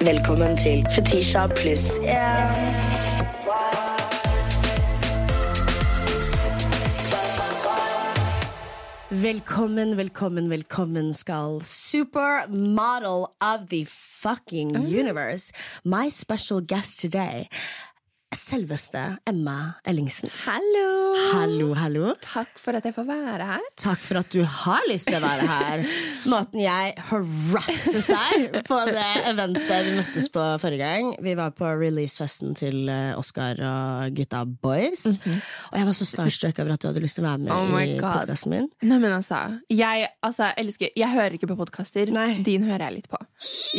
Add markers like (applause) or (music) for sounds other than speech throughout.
Velkommen til Fetisha pluss én. Velkommen, velkommen, velkommen skal Supermodel of the fucking Mm. universe. My special guest today, selveste Emma Ellingsen. Hallo! Hallo, hallo. Takk for at jeg får være her. Takk for at du har lyst til å være (laughs) her. Måten jeg harasset deg på det eventet vi møttes på forrige gang. Vi var på releasefesten til eh, Oscar og gutta Boys. Og jeg var så starstruck over at du hadde lyst til å være med Mhm. Oh my i God. podkasten min. Nei, men altså, jeg, altså, jeg elsker Jeg hører ikke på podkaster. Nei. Din hører jeg litt på.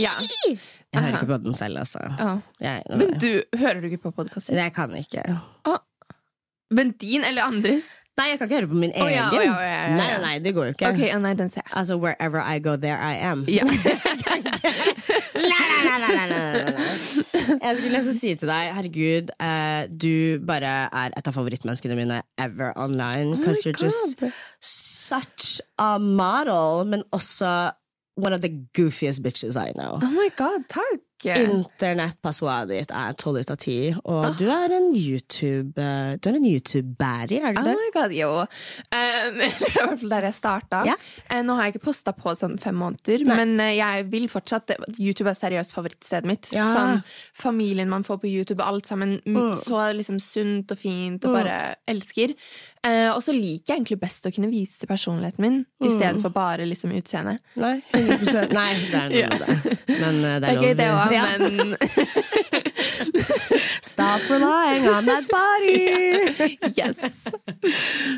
Ja. Jeg hører ikke på den selv, altså. Ja. Jeg, Men du, hører du ikke på podkaster? jeg kan ikke. Men din eller andres? Nei, jeg kan ikke høre på min egen. Å ja, å ja, å ja, ja, ja. Nei, nei, nei, det går jo ikke. Ok, ja, nei, den ser jeg. Altså, wherever I go, there I am. (laughs) Ja. Nei, nei, nei, nei, nei, nei, nei. Jeg skulle også si til deg Herregud, eh, du bare er et av favorittmenneskene mine ever online. Because you're just Oh God. such a model, men også one of the goofiest bitches I know. Oh my god, takk! Internettpassordet ditt er 12 ut av 10, og Ah. du er en YouTube eh, Du er en YouTube-bærer, er du Oh det? my god, jo. Um, (laughs) det var i hvert fall der jeg starta. Ja. Eh, Nå har jeg ikke posta på sånn fem måneder, men eh, jeg vil fortsatt YouTube er seriøst favorittstedet mitt. Ja. Mm. Sånn Familien man får på YouTube, alt sammen m- så liksom sunt og fint og bare elsker. Eh, og så liker jeg egentlig best å kunne vise personligheten min i Mm. stedet for bare liksom utseendet. Nei, 100%. Nei, det er noe med det. Men eh, det Det er er gøy, det Ja. òg, men Stop relying on that (laughs) body! yes.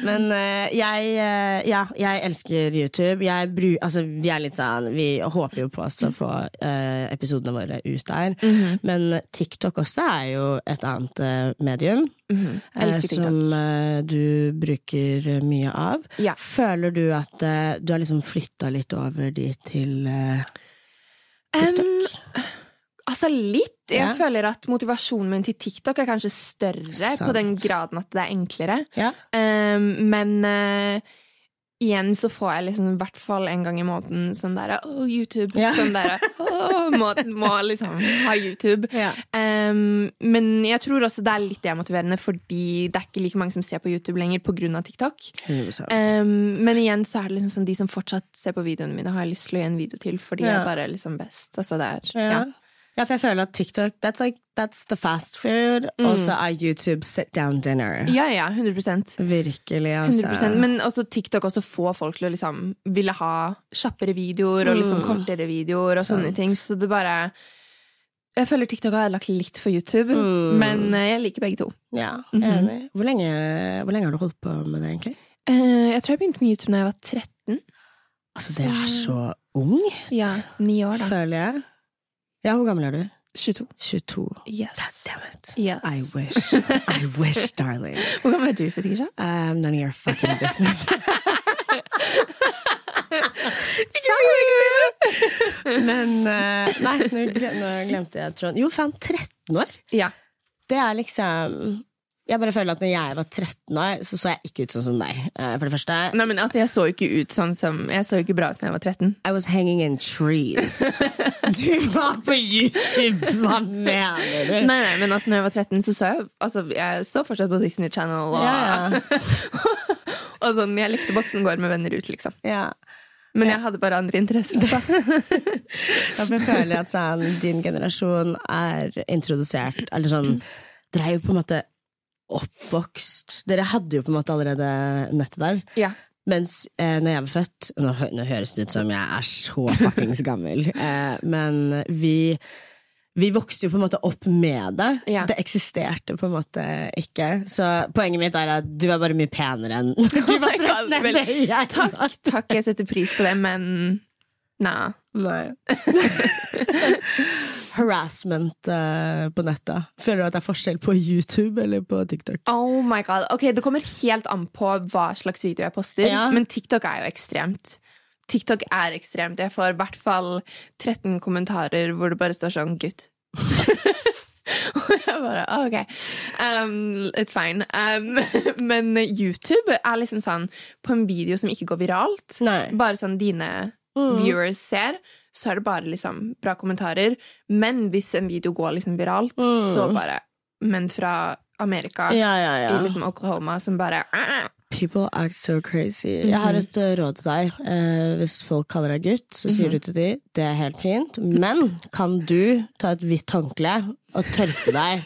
Men eh, jeg, eh, ja, jeg elsker YouTube. Jeg bru, altså, vi er litt sånn Vi håper jo på oss å få eh, episodene våre ut der. Mhm. Men TikTok også er jo et annet eh, medium. Mhm. Jeg elsker eh, TikTok. som eh, du bruker eh, mye av. Ja. Føler du at eh, du har liksom flytta litt over dit til eh, TikTok? Um, Altså litt. Jeg Ja. føler at motivasjonen min til TikTok er kanskje større, på Sant. den graden at det er enklere. ja. Um, men eh, igjen så får jeg liksom i hvert fall en gang i måneden sånn der Å, YouTube! Ja. Sånn der Å, må, må liksom ha YouTube. Ja. Um, men jeg tror også det er litt demotiverende, fordi det er ikke like mange som ser på YouTube lenger pga. TikTok. 100%. Um, men igjen så er det liksom sånn de som fortsatt ser på videoene mine, har jeg lyst til å gi en video til, fordi Ja. jeg bare er liksom best. Altså det er Ja. ja. Ja, for jeg føler at TikTok That's, like, that's the fast food, og så er YouTube sit down dinner. Mm. Ja, ja, 100 Virkelig, altså. 100 Men også TikTok også får folk til å liksom ville ha kjappere videoer og liksom kortere videoer og sånne Mm. Sant. ting. Så det bare Jeg føler TikTok har ødelagt litt for YouTube, Mm. men eh, jeg liker begge to. Ja, Mhm. enig. Hvor lenge, hvor lenge har du holdt på med det, egentlig? Eh, jeg tror jeg begynte med YouTube da jeg var 13. Altså, det er så ungt, Ja, Ni år, da. føler jeg. Ja, hvor gammel er du? 22. 22. Yes. Damn it. I yes. wish. I (laughs) wish, darling. Hvor gammel er du, Fetisha? Um, none of your (laughs) fucking business. Men eh, Nei, nå gle- nå glemte jeg tråden. Jo, faen, 13 år! Ja. Det er liksom Jeg bare føler at når jeg var 13 år, så så jeg ikke ut sånn som deg. eh, For det første. Nei, men altså, jeg så jo ikke ut sånn som Jeg så jo ikke bra ut da jeg var 13. I was hanging in (laughs) trees. du var på YouTube! Hva mener du? Nei, nei, men altså, når jeg var 13, så så jeg altså, Jeg så fortsatt på Disney Channel. Og, Ja, og sånn, jeg likte Voksengård med venner ut, liksom. Ja. Men jeg hadde bare andre interesser. altså. (laughs) også. Ja, for Jeg føler at sånn, din generasjon er introdusert Eller sånn Dere er jo på en måte oppvokst Dere hadde jo på en måte allerede nettet der. ja. Mens eh, når jeg var født nå, hø- nå høres det ut som jeg er så fuckings gammel, (laughs) eh, men vi vi vokste jo på en måte opp med det. Ja. Det eksisterte på en måte ikke. Så poenget mitt er at du var bare mye penere enn (laughs) du (laughs) var my 13 God, enn vel, det jeg Takk, var. takk, jeg setter pris på det, men Nei. Nei. (laughs) Harassment eh, på nettet. Føler du at det er forskjell på YouTube eller på TikTok? Oh my god. Ok, Det kommer helt an på hva slags video jeg poster, Ja. men TikTok er jo ekstremt. TikTok er ekstremt. Jeg får i hvert fall 13 kommentarer hvor det bare står sånn 'gutt'. (laughs) Og jeg bare OK. Um, it's fine. Um, (laughs) men YouTube er liksom sånn på en video som ikke går viralt, Nei. Mm. bare sånn dine viewers ser, så er det bare liksom bra kommentarer. Men hvis en video går liksom viralt, Mm. så bare Men fra Amerika, Ja, ja, ja. i liksom Oklahoma, som bare People act so crazy. Jeg har et eh, råd til deg. Eh, hvis folk kaller deg gutt, så sier du til dem det er helt fint, men kan du ta et hvitt håndkle og tørke deg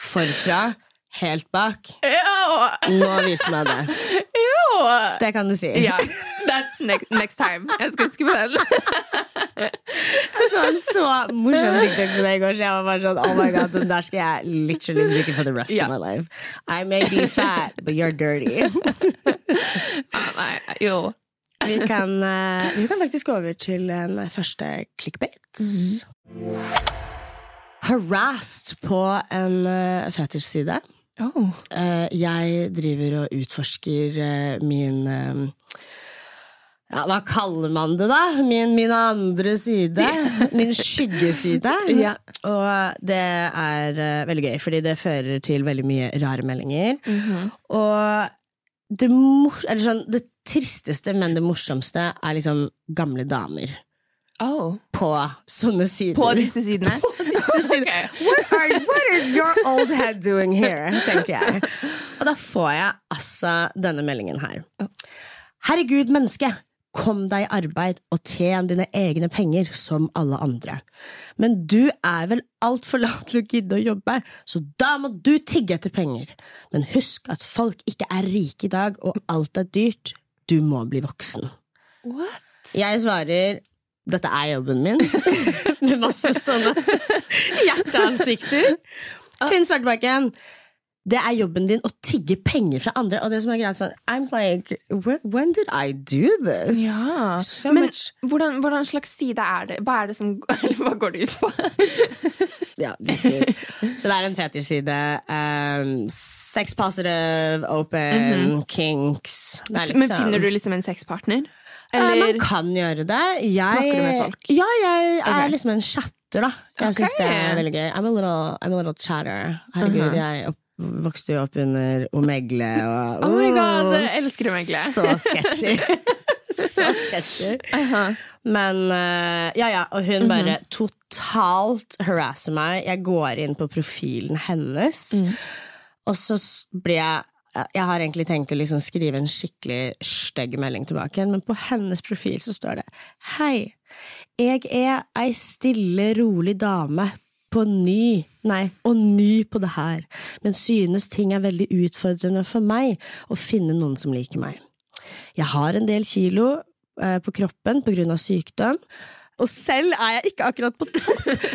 forfra, helt bak? Ja! Nå viser meg det. Det kan du si. (laughs) Ja. That's next, next time. Jeg skal huske på (laughs) den. (laughs) Jeg så en Sånn, så morsom TikTok på det i går, så jeg var bare sånn Oh my god, den der skal jeg literally bruke for the rest Ja. of my life. I may be fat, but you're dirty. Ah, Nei, jo. Vi kan, eh, vi kan faktisk gå over til en første clickbait. Harassed på en eh, fetisj-side. Oh. Eh, jeg driver og utforsker eh, min eh, ja, Hva kaller man det, da? Min, min andre (laughs) side. Min skyggeside. Ja. Og det er eh, veldig gøy, fordi det fører til veldig mye rare meldinger. Mhm. Og det, mor eller sånn, det tristeste, men det morsomste, er liksom gamle damer Oh. på sånne sider. (laughs) På disse sidene? (laughs) Så sier de, Ok. what, are, what is your old head doing here? tenker jeg. Og da får jeg altså denne meldingen her. Herregud, menneske! Kom deg i arbeid og tjen dine egne penger som alle andre. Men du er vel altfor lat til å gidde å jobbe, så da må du tigge etter penger. Men husk at folk ikke er rike i dag, og alt er dyrt. Du må bli voksen. What? Jeg svarer dette er jobben min, med masse (laughs) sånne hjerteansikter. Hun svarte tilbake det er jobben din å tigge penger fra andre. Og det som er greit, sånn, I'm like, when, when did I do this? Ja. So Men much. hvordan, hvordan slags side er det? Hva er det som (laughs) eller Hva går det ut på? Ja, riktig. Så det er en fetisjside. Um, sex positive, open, kinks. Det er Men finner du liksom en sexpartner? Eh, Eller Man kan gjøre det. Jeg, Snakker du med folk? Ja, jeg er Ok. liksom en chatter, da. Jeg syns Ok. det er veldig gøy. I'm a little, I'm a little chatter. Herregud, Uh-huh. jeg opp, vokste jo opp under Omegle og Oh my God, Åh, jeg elsker Omegle. (laughs) Så sketchy. (laughs) så sketchy. Aha. Men eh, ja, ja, og Mm-hmm. hun bare totalt harasser meg. Jeg går inn på profilen Mm-hmm. hennes, og så s- blir jeg eh, jeg har egentlig tenkt å liksom skrive en skikkelig stygg melding tilbake, igjen, men på hennes profil så står det Hei, jeg er ei stille, rolig dame på ny, nei, og ny på det her, men synes ting er veldig utfordrende for meg å finne noen som liker meg. Jeg har en del kilo eh, på kroppen pga. sykdom, og selv er jeg ikke akkurat på topp.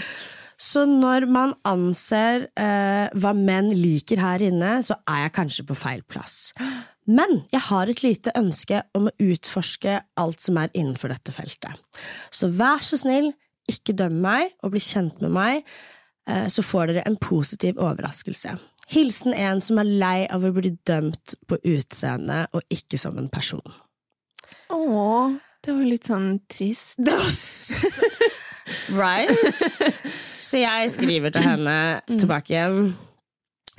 Så når man anser eh, hva menn liker her inne, så er jeg kanskje på feil plass. Men jeg har et lite ønske om å utforske alt som er innenfor dette feltet. Så vær så snill, ikke døm meg, og bli kjent med meg, eh, så får dere en positiv overraskelse. Hilsen en som er lei av å bli dømt på utseende og ikke som en person. Åh, det var litt sånn trist. right? Så jeg skriver til henne tilbake igjen.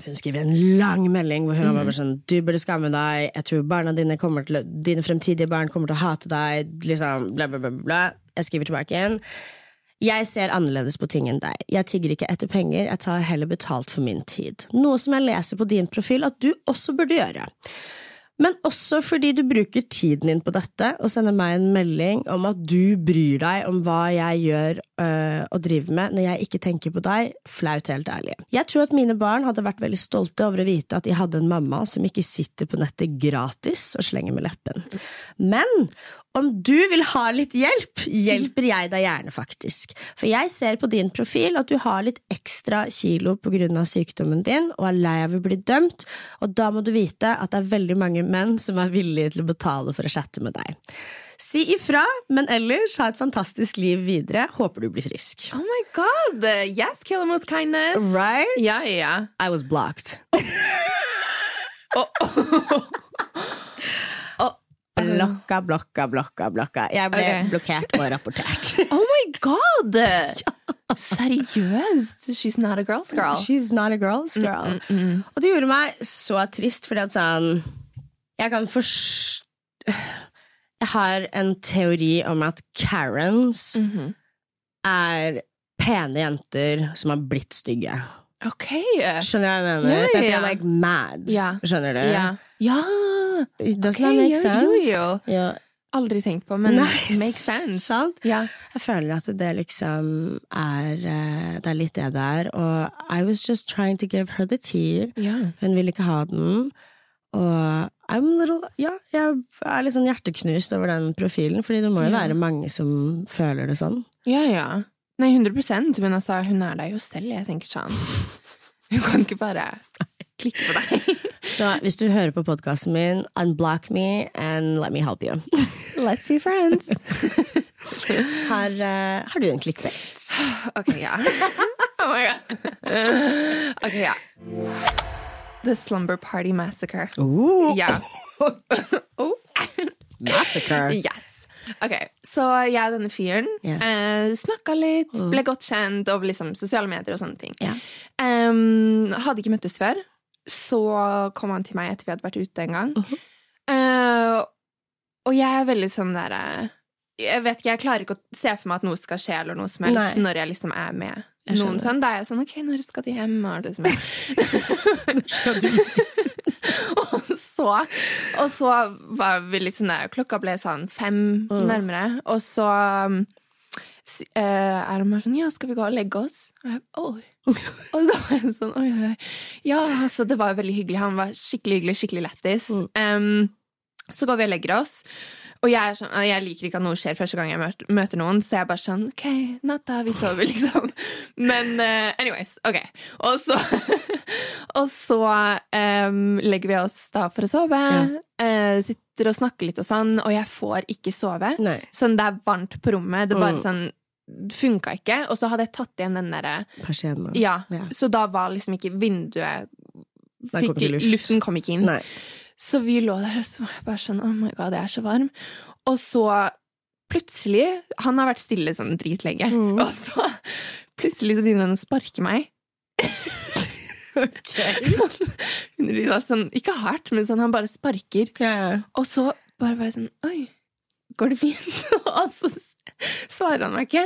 Hun skriver en lang melding hvor hun er bare sånn Du burde skamme deg. Jeg tror barna dine kommer til å- Dine fremtidige barn kommer til å hate deg. Liksom, bla, bla, bla, bla, bla. Jeg skriver tilbake igjen. Jeg ser annerledes på ting enn deg. Jeg tigger ikke etter penger, jeg tar heller betalt for min tid. Noe som jeg leser på din profil at du også burde gjøre. Men også fordi du bruker tiden din på dette og sender meg en melding om at du bryr deg om hva jeg gjør øh, og driver med når jeg ikke tenker på deg, flaut helt ærlig. Jeg tror at mine barn hadde vært veldig stolte over å vite at de hadde en mamma som ikke sitter på nettet gratis og slenger med leppen. Men om du vil ha litt hjelp, hjelper jeg deg gjerne faktisk. For jeg ser på din profil at du har litt ekstra kilo pga. sykdommen din og er lei av å bli dømt, og da må du vite at det er veldig mange menn som er villige til å betale for å chatte med deg. Si ifra, men ellers ha et fantastisk liv videre. Håper du blir frisk. Oh my god! Yes, kill him with kindness. Right? Ja, ja, ja. I was (laughs) blocked. Oh, (laughs) Blokka, blokka, blokka, blokka. Jeg ble Oh. Ok. blokkert og rapportert. (laughs) Oh my (laughs) god! Seriøst? She's not a girl's girl. She's not a girl's Mm, girl. Og det gjorde meg så trist, fordi at sånn Jeg kan Mm-hmm. forst... Jeg har en teori om at Karens er pene jenter som har blitt stygge. Ok. Skjønner jeg hva jeg Ja, mener? ja, Dette ja. er like mad. Ja. Skjønner du? Ja. ja. Does that Ok, make jo, sense? jo, jo. Ja. Aldri tenkt på, men Nice. makes sense. Sant? Ja. Jeg føler at det liksom er eh, Det er litt det det er. Og I was just trying to give her the tea. ja. Hun ville ikke ha den. Og I'm a little, ja, jeg er litt sånn hjerteknust over den profilen, fordi det må jo Ja. være mange som føler det sånn. Ja, ja. Nei, 100 men altså, hun er der jo selv, jeg tenker sånn. Hun kan ikke bare klikke på deg. Så hvis du hører på podkasten min, unblock me and let me help you. (laughs) Let's be friends. (laughs) Har, eh, har du en clickbait? (gasps) Ok, ja. Oh my god. Ok, ja. The Slumber Party Massacre. Ooh, Ja. Oh. Massacre! Yes. Ok, Så jeg og denne fyren Yes. Mm. eh, snakka litt, ble godt kjent over liksom, sosiale medier og sånne ting. Ja. Em, hadde ikke møttes før. Så kom han til meg etter vi hadde vært ute en gang. Mhm. Eh, og jeg er veldig sånn der eh, Jeg vet ikke, jeg klarer ikke å se for meg at noe skal skje, eller noe som helst, Nei. når jeg liksom er med Jeg skjønner. noen sånn. Da er jeg sånn OK, når skal du hjem? Og liksom, Skal (laughs) du og så, og så var vi litt sånn der Klokka ble sånn fem Mm. nærmere Og så um, s- eh, er han bare sånn Ja, skal vi gå og legge oss? Og, jeg, «Oi». og da var det sånn oi, oi. oi». Ja, altså det var jo veldig hyggelig Han var skikkelig hyggelig, skikkelig lettis Em, Så går vi og legger oss og jeg, er sånn, jeg liker ikke at noe skjer første gang jeg møter, møter noen, så jeg er bare sånn OK, natta, vi sover, (laughs) liksom. Men eh, anyways, OK. Og så, (laughs) og så em, legger vi oss da for å sove. eh, sitter og snakker litt og sånn, og jeg får ikke sove. Nei. Sånn det er varmt på rommet. Det er bare Mm. sånn Funka ikke. Og så hadde jeg tatt igjen den derre Persiennene. ja, Ja. så da var liksom ikke vinduet Nei, kom fikk, ikke luft. Luften kom ikke inn. Nei. Så vi lå der og så var jeg bare sånn Oh my god, jeg er så varm. Og så plutselig Han har vært stille sånn dritlenge. Mm. Og så plutselig så begynner han å sparke meg. Hun var sånn, ikke hardt, men sånn han bare sparker. Ja, ja. Og så bare var jeg sånn Oi, går det fint? (laughs) og så s- svarer han meg ikke.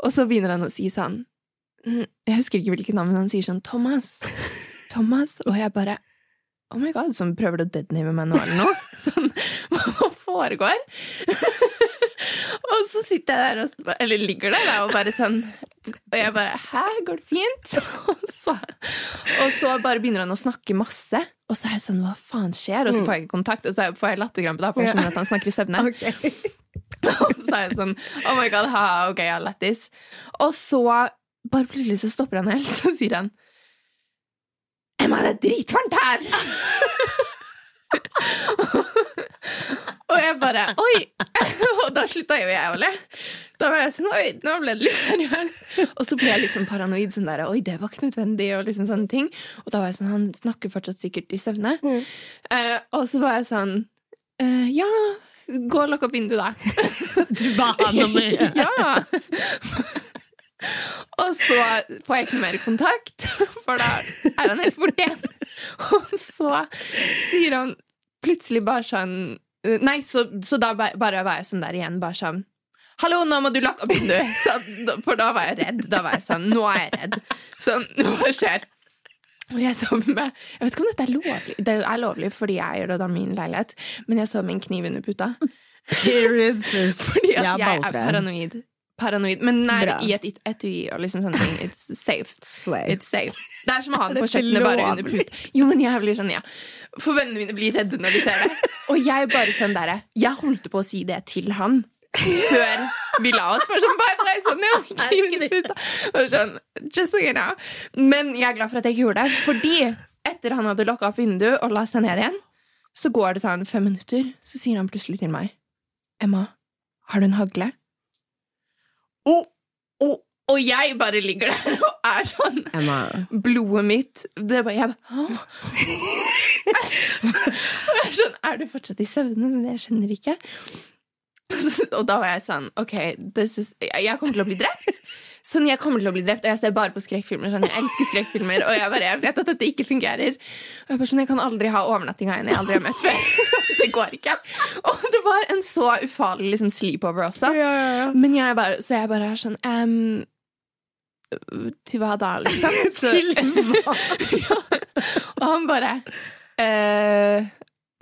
Og så begynner han å si sånn mm, Jeg husker ikke hvilket navn, men han sier sånn Thomas. Thomas. Og jeg bare Oh my god, sånn prøver du å deadname meg nå eller noe? (laughs) Sånn, hva hva foregår? (laughs) og så sitter jeg der og s- Eller ligger der da, og bare sånn Og jeg bare Hæ, går det fint? (laughs) og, så, og så bare begynner han å snakke masse. Og så er jeg sånn Hva faen skjer? Og så får jeg ikke kontakt, og så får jeg latterkrampe. Da for jeg Ja. skjønner at han snakker i (laughs) søvne. (laughs) Og så er jeg sånn Oh my god, ha, ok, ja, lættis. Og så bare plutselig så stopper han helt, (laughs) så sier han Emma, det er dritvarmt her! (laughs) og jeg bare Oi! (laughs) og da slutta jo jeg å le. Da var jeg sånn Oi, nå ble det litt seriøst. Og så ble jeg litt sånn paranoid. Sånn der, Oi, det var ikke nødvendig. Og liksom sånne ting. Og da var jeg sånn Han snakker fortsatt sikkert i søvne. Eh, og så var jeg sånn eh, Ja, gå og lukk opp vinduet, da. Du ba han (laughs) om å gjøre Ja! (laughs) Og så får jeg ikke mer kontakt, (laughs) for da er han helt borte igjen. (laughs) Og så sier han plutselig bare sånn Nei, så, så da ba- bare var jeg sånn der igjen, bare sånn Hallo, nå må du lukke opp vinduet! (laughs) Så- For da var jeg redd. Da var jeg sånn Nå er jeg redd. Sånn, hva skjer? Og jeg sov med Jeg vet ikke om dette er lovlig, det er lovlig fordi jeg gjør det da i min leilighet, men jeg sov med en kniv under puta. Period, sis. Fordi at Jeg er jeg er balltre. paranoid. Paranoid, Men nei, Bra. i et et- etui og liksom sånne ting. It's safe. Slay. It's safe. Det er som å (laughs) ha den Er på dette kjøkkenet bare under lovlig? put. Jo, men jeg blir sånn, ja. For vennene mine blir redde når de ser det. (laughs) Og jeg bare sånn derre Jeg holdt på å si det til han før vi la oss. Bare sånn, bare dreie sånn, ja. kniv under puta. Bare sånn, just so you know. Men jeg er glad for at jeg ikke gjorde det, fordi etter han hadde lokka opp vinduet og la seg ned igjen, så går det sånn fem minutter, så sier han plutselig til meg Emma, har du en hagle? Oh, Og jeg bare ligger der og er sånn Emma. Blodet mitt det er bare, Jeg bare «Åh?» Og jeg er sånn Er du fortsatt i søvne? Sånn, Jeg skjønner ikke. Og da var jeg sånn OK, this is, jeg kommer til å bli drept. Sånn, jeg kommer til å bli drept, og jeg ser bare på skrekkfilmer. Sånn, jeg elsker skrekkfilmer, og jeg bare jeg vet at dette ikke fungerer. Og jeg bare sånn, jeg kan aldri ha overnatting av en jeg aldri har møtt før. (laughs) det går ikke. Og det var en så ufarlig liksom, sleepover også. (laughs) Men jeg bare, så jeg bare er sånn ehm, Til hva da, (laughs) liksom? Så, hva? og han bare eh,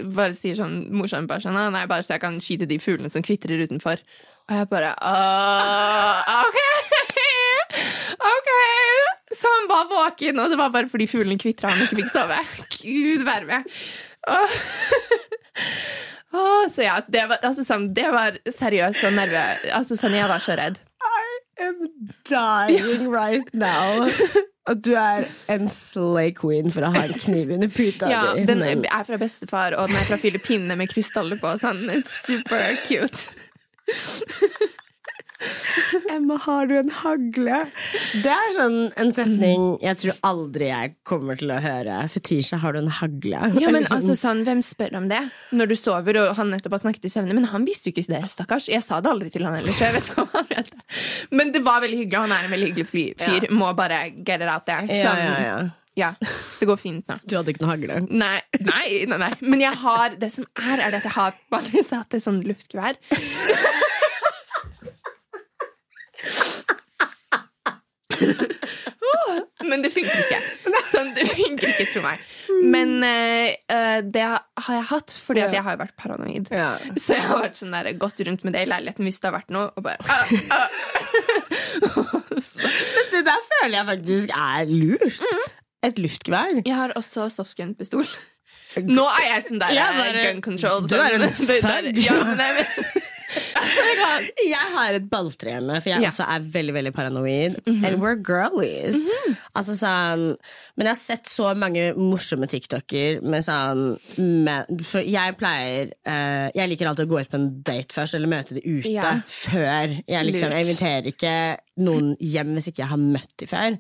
Bare sier sånn morsomt bare sånn «Å, Nei, bare så jeg kan skyte de fuglene som kvitrer utenfor. Og jeg bare «Åh, OK! (laughs) OK! Så han var våken, og det var bare fordi fuglene kvitra han ikke fikk sove. (laughs) Gud være med. (laughs) Åh. Åh, så ja, det var, altså, sånn, det var seriøst så nerve... Altså, sånn, jeg var så redd. I am dying right now. At du er en slay queen for å ha en kniv under puta Ja, di. Mm. den men- er fra bestefar, og den er fra Filippinene med krystaller på. Sånn, super cute. Emma, har du en hagle? Det er sånn en setning Mm. jeg tror aldri jeg kommer til å høre. Fetisha, har du en hagle? Ja, men Eller sånn, altså sånn, Hvem spør om det? Når du sover, og han nettopp har snakket i søvne. Men han visste jo ikke det, stakkars. Jeg sa det aldri til han heller, så jeg vet ikke om han vet det. Men det var veldig hyggelig. Han er en veldig hyggelig fly- fyr. Må bare get it out there. ja, Sånn, ja, ja. ja, det går fint nå. Du hadde ikke noe hagle? Nei, nei, nei, nei. Men jeg har, det som er, er det at jeg har bare satt et sånn luftgevær. Åh, Men det funker ikke. Sånn, det funker ikke, tro meg. Men eh, eh, det har jeg hatt, fordi at jeg har jo vært paranoid. Ja. Så jeg har vært sånn der, gått rundt med det i leiligheten hvis det har vært noe. Og bare, ah, ah. Så, Men det der føler jeg faktisk er lurt. Et luftgevær. jeg har også softgun-pistol. Nå er jeg sånn der Jeg bare- gun control. Du er en sånn. Det der- thug. Ja, men jeg vet- Oh my God. Jeg har et balltre hjemme, for jeg Ja. Mhm. også er veldig veldig paranoid. And we're girlies. Altså sånn Men jeg har sett så mange morsomme TikToker med sånn men, For jeg pleier eh, Jeg liker alltid å gå ut på en date først, eller møte de ute Ja. før. Jeg liksom Lurt. jeg inviterer ikke noen hjem hvis ikke jeg har møtt de før.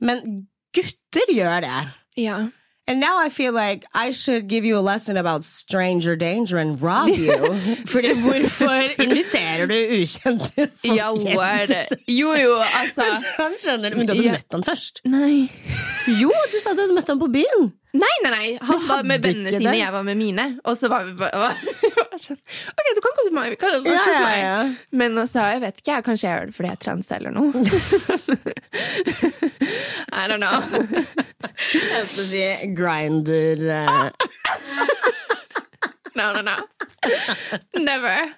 Men gutter gjør det. Ja. And now I feel like I should give you a lesson about stranger danger and rob (laughs) you. Fordi hvorfor inviterer du ukjente folk ja, hjem word. til- Jo, jo, altså (laughs) Han skjønner det, Men du hadde Ja. møtt han først? Nei. Jo, du sa du hadde møtt han på byen! Nei, nei, nei. Han var med hadde vennene ikke sine, det. jeg var med mine. Og så var vi bare (laughs) var- var sånn, OK, du kan komme til meg. Kan, kan, Ja, kysse ja, meg. ja. Men også, jeg vet ikke, jeg, kanskje jeg gjør det fordi jeg er trans eller noe. (laughs) I don't know. Jeg skulle si eh. grinder No, no, no. Never.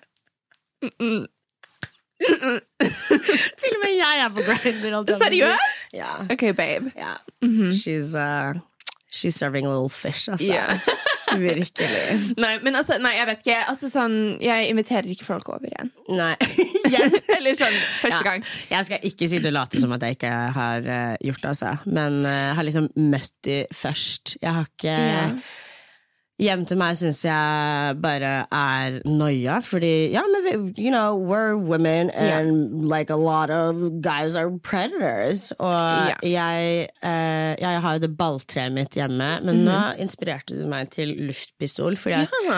(laughs) Til og med jeg er på grinder. Seriøst? Ja. OK, babe. ja. She's, uh, she's serving a little fish, altså. Ja. Virkelig. Nei, men altså, nei, jeg vet ikke. Altså, sånn, jeg inviterer ikke folk over igjen. Nei. (laughs) Jeg Eller sånn første gang. Jeg skal ikke sitte og late som at jeg ikke har eh, gjort det, altså. Men eh, har liksom møtt de først. Jeg har ikke Ja. Hjem til meg syns jeg bare er noia, fordi ja, men vi, you know, we're women and like a lot of guys are predators. Og jeg, eh, jeg har jo det balltreet mitt hjemme, Mhm. men nå inspirerte du meg til luftpistol, fordi jeg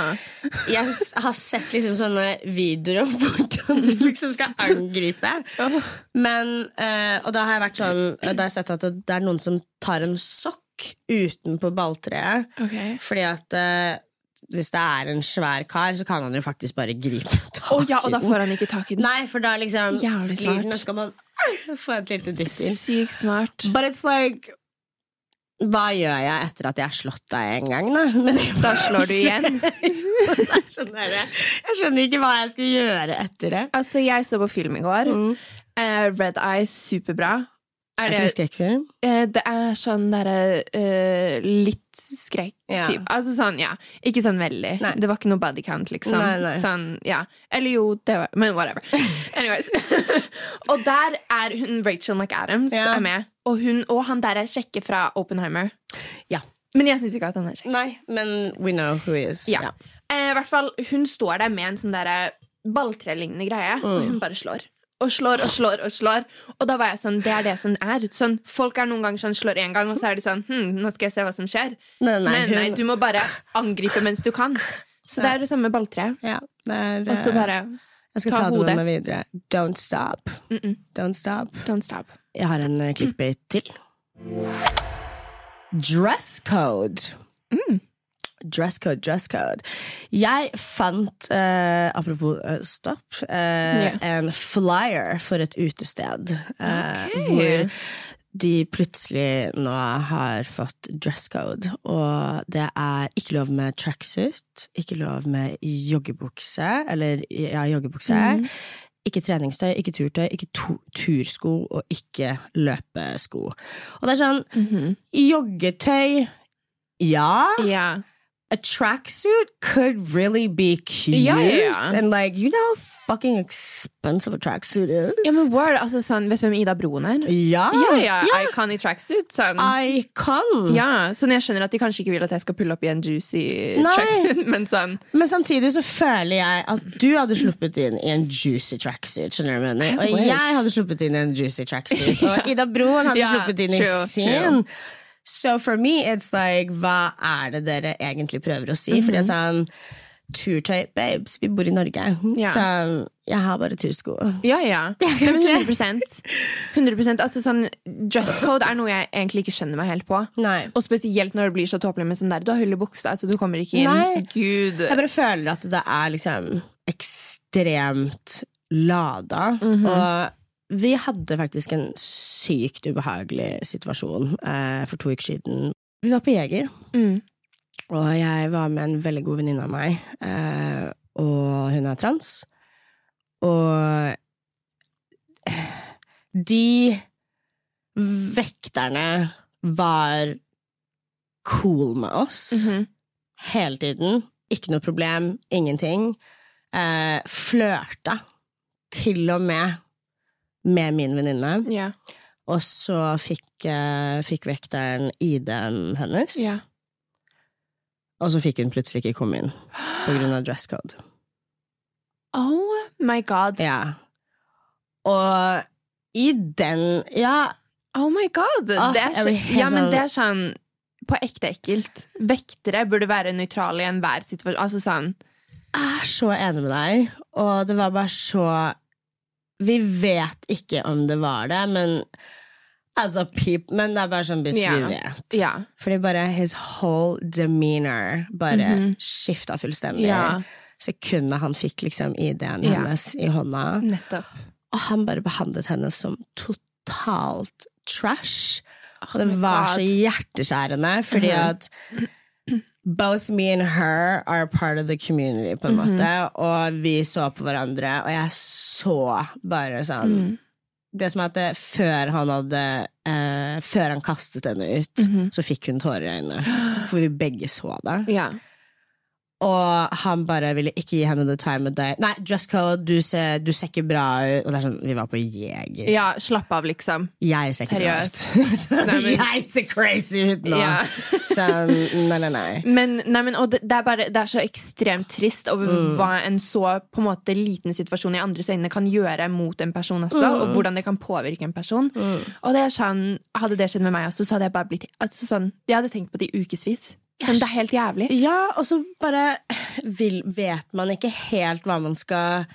jeg s- har sett liksom sånne videoer om hvordan du liksom skal angripe. Men, eh, og da har jeg vært sånn Da har jeg sett at det er noen som tar en sokk utenpå balltreet. Ok. Fordi at eh, hvis det er en svær kar, så kan han jo faktisk bare gripe tak Å ja, og da i den. får han ikke tak i den. Nei, for da liksom Jævlig sklir smart. den, og så kan man ah, få et lite dytt inn. Sykt smart. But it's like Hva gjør jeg etter at jeg har slått deg en gang, da? (laughs) Men Da slår du igjen. jeg, (laughs) skjønner, jeg skjønner ikke hva jeg skal gjøre etter det. (laughs) Altså, jeg så på film i går. Mm. Eh, Red Eye, superbra. Er Er det, ikke det skrekkfilm? eh, det er sånn derre eh, litt skrekk Ja. typ. Altså sånn, ja. Ikke sånn veldig. Nei. Det var ikke noe body count, liksom. Nei, nei. Sånn, ja. Eller jo, det var Men whatever. Anyways. (laughs) og der er hun Rachel McAdams Ja. er med. Og, hun, og han der er kjekke fra Oppenheimer. Ja. Men jeg syns ikke at han er kjekk. Nei, men we know who he is. Ja. Eh, i hvert fall, hun står der med en sånn derre balltrelignende greie, og hun bare slår. Og slår og slår og slår. Og da var jeg sånn, det er det som er. Sånn, folk er noen ganger sånn, slår én gang, og så er de sånn hm, nå skal jeg se hva som skjer. Nei, nei, Nei, hun, nei, du må bare angripe mens du kan. Så det er det samme balltreet. ja, det er, Og så eh, bare Jeg skal Ta ta, det hodet. med meg videre. Don't stop. Mm -mm. Don't stop. Don't stop. Jeg har en eh, clickbait til. Dress code. Mm. Dress code, dress code. Jeg fant, eh, apropos eh, stopp, eh, en flyer for et utested. eh, Ok. Hvor de plutselig nå har fått dress code. Og det er ikke lov med tracksuit, ikke lov med joggebukse, eller ja, joggebukse. Mm. Ikke treningstøy, ikke turtøy, ikke to tursko og ikke løpesko. Og det er sånn Mm-hmm. Joggetøy, ja. Ja. A tracksuit could really be cute. Ja, ja, ja. And like, you know how fucking expensive a tracksuit is? ja, men Word, altså sånn, Vet du hvem Ida Broen er? ja, Ja, ja, Icon i tracksuit. Sånn. Icon. Ja, sånn jeg skjønner at de kanskje ikke vil at jeg skal pulle opp i en juicy Nei. tracksuit, (laughs) men sånn Men samtidig så føler jeg at du hadde sluppet inn i en juicy tracksuit. Skjønner du hva jeg mener? I Og wish. jeg hadde sluppet inn i en juicy tracksuit. Og Ida Broen hadde (laughs) Ja, sluppet inn i true, sin. So for me, it's like Hva er det dere egentlig prøver å si? Fordi det er sånn Turtøy, babes, vi bor i Norge. Ja. Sånn, jeg har bare tursko. Ja, (laughs) ja. Nei, men 100, 100% altså, sånn, Dress code er noe jeg egentlig ikke skjønner meg helt på. Nei. Og spesielt når det blir så tåpelig med sånn der. Du har hull i buksa, så du kommer ikke inn. Nei. Gud. Jeg bare føler at det er liksom ekstremt lada. Og vi hadde faktisk en sykt ubehagelig situasjon eh, for to uker siden. Vi var på Jeger, Mm. og jeg var med en veldig god venninne av meg. Eh, og hun er trans. Og de vekterne var cool med oss Mhm. hele tiden. Ikke noe problem, ingenting. Eh, flørta til og med med min venninne. Ja. Og så fikk, eh, fikk vekteren ID-en hennes, ja. og så fikk hun plutselig ikke komme inn på grunn av dress code. Oh my god. Ja. Og i den Ja, Oh my god. Åh, det, er jeg så, blir helt ja, men sånn- det er sånn på ekte ekkelt. Vektere burde være nøytrale i enhver situasjon. Altså sånn jeg er så enig med deg, og det var bare så Vi vet ikke om det var det, men Altså, pip, men det er bare sånn bitch, Ja. vi vet. Ja. Fordi bare his whole demeanor bare skifta fullstendig. Mhm. Ja. Sekundet han fikk liksom ID-en Ja. hennes i hånda. Nettopp. Og han bare behandlet henne som totalt trash. Og Ah, my det var så God. Mhm. hjerteskjærende, fordi at Both me and her are part of the community, på en Mhm. måte. Og vi så på hverandre, og jeg så bare sånn Mhm. det som er at det, før han hadde eh, Før han kastet henne ut, Mhm. så fikk hun tårer i øynene. For vi begge så det. Ja. Og han bare ville ikke gi henne the time of day. Nei, dress code, du ser, du ser ikke bra ut. Og det er sånn, vi var på Jeger. ja. Slapp av, liksom. Jeg ser ikke bra ut. (laughs) Så Nei, men- Jeg ser crazy ut nå! Ja. Så mm, nei, nei, nei. Men, nei, men, og det, det, er bare, det er så ekstremt trist over Mm. hva en så på en måte, liten situasjon i andres øyne kan gjøre mot en person også, Mm. og hvordan det kan påvirke en person. Og det er sånn, Hadde det skjedd med meg også, så hadde jeg bare blitt altså, sånn, Jeg hadde tenkt på det i ukevis. Sånn, det er helt jævlig. Ja, og så bare vil, vet man ikke helt hva man skal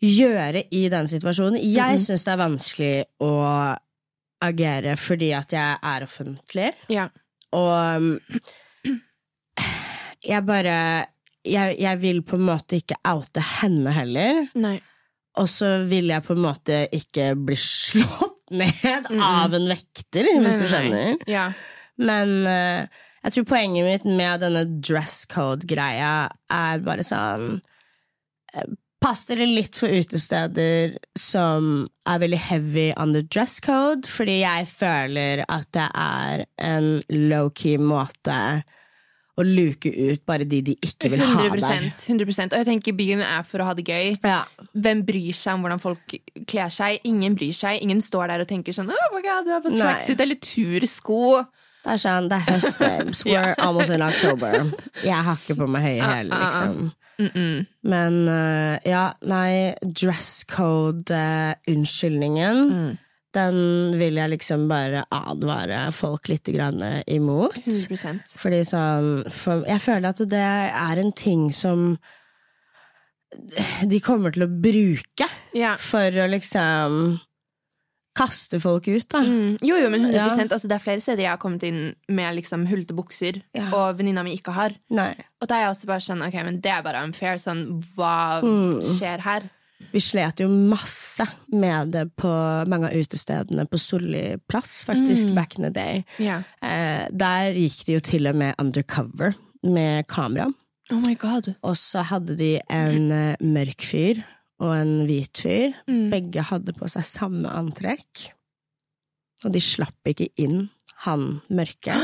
gjøre i den situasjonen. Jeg syns det er vanskelig å agere fordi at jeg er offentlig, Ja. og um, jeg bare jeg, jeg vil på en måte ikke oute henne heller, Nei. og så vil jeg på en måte ikke bli (laughs) slått ned av en vekter, hvis du Nei, nei, skjønner. nei. Ja. Men eh, jeg tror poenget mitt med denne dress code-greia er bare sånn eh, Pass dere litt for utesteder som er veldig heavy on the dress code, fordi jeg føler at det er en low-key måte å luke ut bare de de ikke vil ha 100, der. 100%. Og jeg tenker byen er for å ha det gøy. Ja. Hvem bryr seg om hvordan folk kler seg? Ingen bryr seg. Ingen står der og tenker sånn Oh my god, du er på Nei. tracksuit eller tursko. Det er sånn, det er høst, babes. We're almost in October. Jeg har ikke på meg høye hæler, liksom. Men eh, ja, nei, dress code-unnskyldningen, Mm. den vil jeg liksom bare advare folk litt grann eh, imot. 100 Fordi sånn, for, jeg føler at det er en ting som de kommer til å bruke Ja. for å liksom kaste folk ut, da. Mm. Jo, jo, men 100 Ja. altså, Det er flere steder jeg har kommet inn med liksom, hullete bukser, Ja. og venninna mi ikke har. Nei. Og da er jeg også bare sånn, ok, men det er bare unfair. Sånn, hva Mm. skjer her? Vi slet jo masse med det på mange av utestedene på Solli plass, faktisk, Mm. back in the day. Ja. Eh, der gikk de jo til og med undercover med kamera. Oh my god. Og så hadde de en eh, mørk fyr og en hvit fyr. Mm. Begge hadde på seg samme antrekk. Og de slapp ikke inn han (gasps) mørke.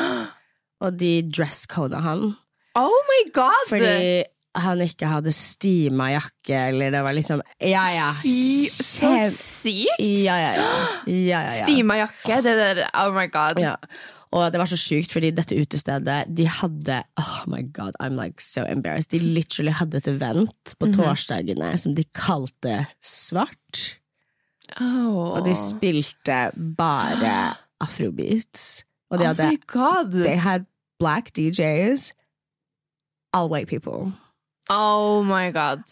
Og de dresscoda han Oh my god! fordi han ikke hadde stima jakke, eller det var liksom Ja, ja. Fy, så kjem- sykt! Ja, ja, ja. ja, ja, ja. Stima jakke, det der, oh my god. Ja. Og det var så sjukt, fordi dette utestedet De hadde Oh my god, I'm like so embarrassed. De literally hadde et event på torsdagene som de kalte Svart. Oh. Og de spilte bare afrobeats. Og de oh hadde my god! They had black DJs. All white people. Oh my god.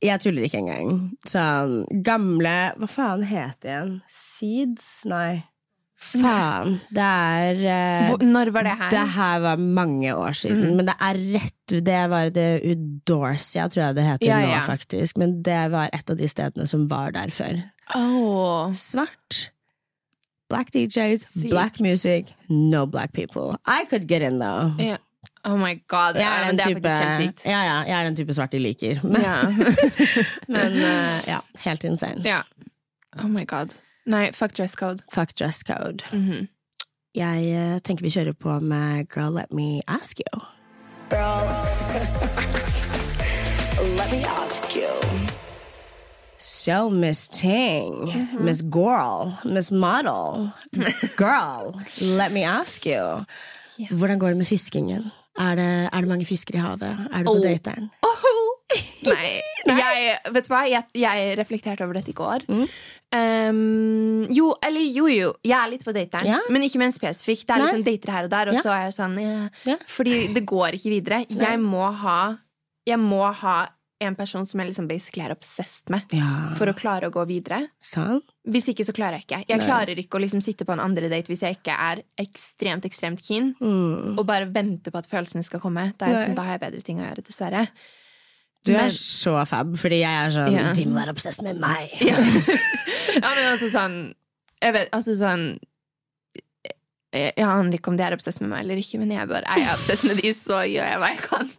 Jeg tuller ikke engang. Sånn gamle Hva faen het det igjen? Seeds? Nei. Faen. Det er eh, Hvor, når var det her? Det her var mange år siden, Mm. men det er rett Det var det Udorsia, tror jeg det heter Ja, ja. nå, faktisk. Men det var et av de stedene som var der før. Oh. Svart. Black DJs, Sykt. black music, no black people. I could get in, though. Ja. oh my god, Jeg ja, er den men det er type, faktisk helt sykt. ja, ja, jeg er den type svart de liker. (laughs) Men, Ja. men eh, ja, helt insane. ja. Oh my god. Nei, fuck dress code. Fuck dress code. Mhm. Jeg eh, tenker vi kjører på med Girl, let me ask you. (laughs) Let me ask you. So, Miss Ting, Mm-hmm. Miss Girl, Miss Model, Girl, let me ask you. Hvordan går det med fiskingen? Er det, er det mange fisker i havet? Er du på Oh. dateren? Oh. (laughs) Nei. (laughs) Jeg, vet du hva? Jeg, jeg reflekterte over dette i går. Mm. Um, jo, eller jo, jo. Jeg er litt på dateren, Ja. men ikke mer spesifikk. Det er Nei. liksom dater her og der, og Ja. så er jeg sånn eh, Ja. Fordi det går ikke videre. Jeg må ha Jeg må ha en person som jeg liksom basically er obsessed med, Ja, for å klare å gå videre. sant? Hvis ikke, så klarer jeg ikke. Jeg klarer ikke å liksom sitte på en andre date hvis jeg ikke er ekstremt ekstremt keen, Mm. og bare vente på at følelsene skal komme. Da, er jeg Nei. sånn, da har jeg bedre ting å gjøre, dessverre. Du er Men- så fab, fordi jeg er sånn Ja. De må være obsess med meg! Ja. ja, men altså sånn Jeg vet, altså sånn jeg, jeg aner ikke om de er obsess med meg eller ikke, men jeg bare, er jeg obsess med de, så gjør jeg hva jeg kan.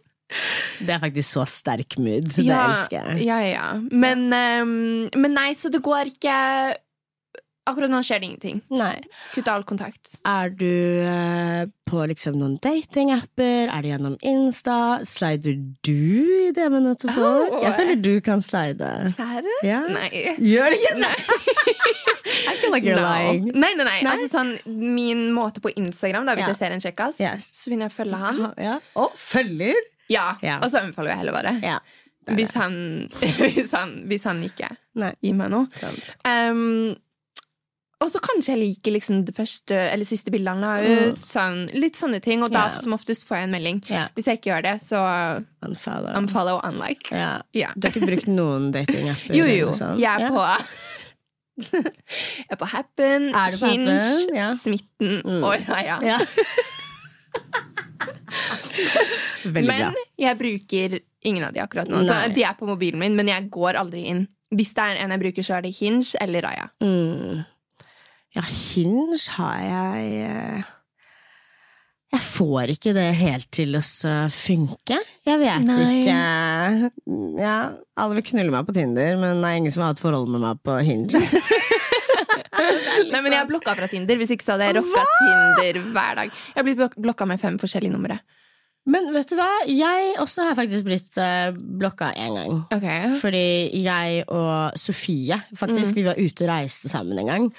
Det er faktisk så sterk mood, så det ja, elsker jeg. ja, ja. Men, ehm, men nei, så det går ikke Akkurat nå skjer det ingenting. Nei. Kutt all kontakt. Er du eh, på liksom noen datingapper? Er det gjennom Insta? Slider du i DM-ene til folk? Oh. Jeg føler du kan slide. Serr? Ja. (laughs) Nei. Gjør det ikke? Nei. I feel like you're No. lying. Nei, nei, nei. Nei? Altså, sånn, min måte på Instagram, da, hvis Ja. jeg ser en kjekkas, Yes. så begynner jeg å følge han. Ja. Og følger. Ja. Ja. Og så anbefaler jeg heller bare. Ja. det er Hvis han, hvis, han, (laughs) hvis han ikke Nei. gir meg noe. Sant. Um, og så kanskje jeg liker liksom det første eller siste bildet han la ut. Sånn, litt sånne ting. Og da Mm. Ja. som oftest får jeg en melding. Ja. Hvis jeg ikke gjør det, så Unfollow. unfollow og unlike. ja. Ja. Du har ikke brukt noen datingapper? Jo, eller jo. noe sånt? Jeg er Ja. på (laughs) Jeg er på Happen, Er du på Hinge, Happen? Ja. Mm. Smitten og Raya. (laughs) Ja. Veldig Men bra. jeg bruker ingen av de akkurat nå. Så Nei. de er på mobilen min, men jeg går aldri inn. Hvis det er en jeg bruker, så er det Hinge eller Raya. Mm. Ja, Hinge har jeg eh, Jeg får ikke det helt til å så funke. Jeg vet Nei. ikke ja, Alle vil knulle meg på Tinder, men det er ingen som har hatt forhold med meg på Hinge. Nei, men jeg er blokka fra Tinder. Hvis ikke så hadde jeg rocka Tinder hver dag. Jeg har blitt blok- blokka med fem forskjellige numre. Men vet du hva? Jeg også har faktisk blitt eh, blokka én gang. Ok Fordi jeg og Sofie, faktisk, vi var ute og reiste sammen en gang.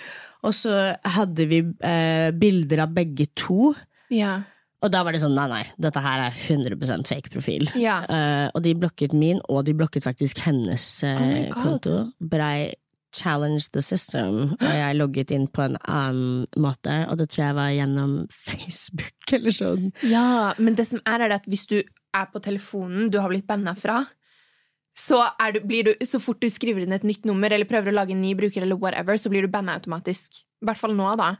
Og så hadde vi eh, bilder av begge to. Ja. Og da var det sånn, nei, nei, dette her er 100 fake profil. Ja. Eh, og de blokket min, og de blokket faktisk hennes eh, Oh my God. konto. But I challenged the system, og jeg logget inn på en annen måte. Og det tror jeg var gjennom (laughs) Facebook eller sånn. ja, men det som er, er det at hvis du er på telefonen du har blitt banna fra, så, er du, blir du, så fort du skriver inn et nytt nummer eller prøver å lage en ny bruker, eller whatever, så blir du banna automatisk. I hvert fall nå, da.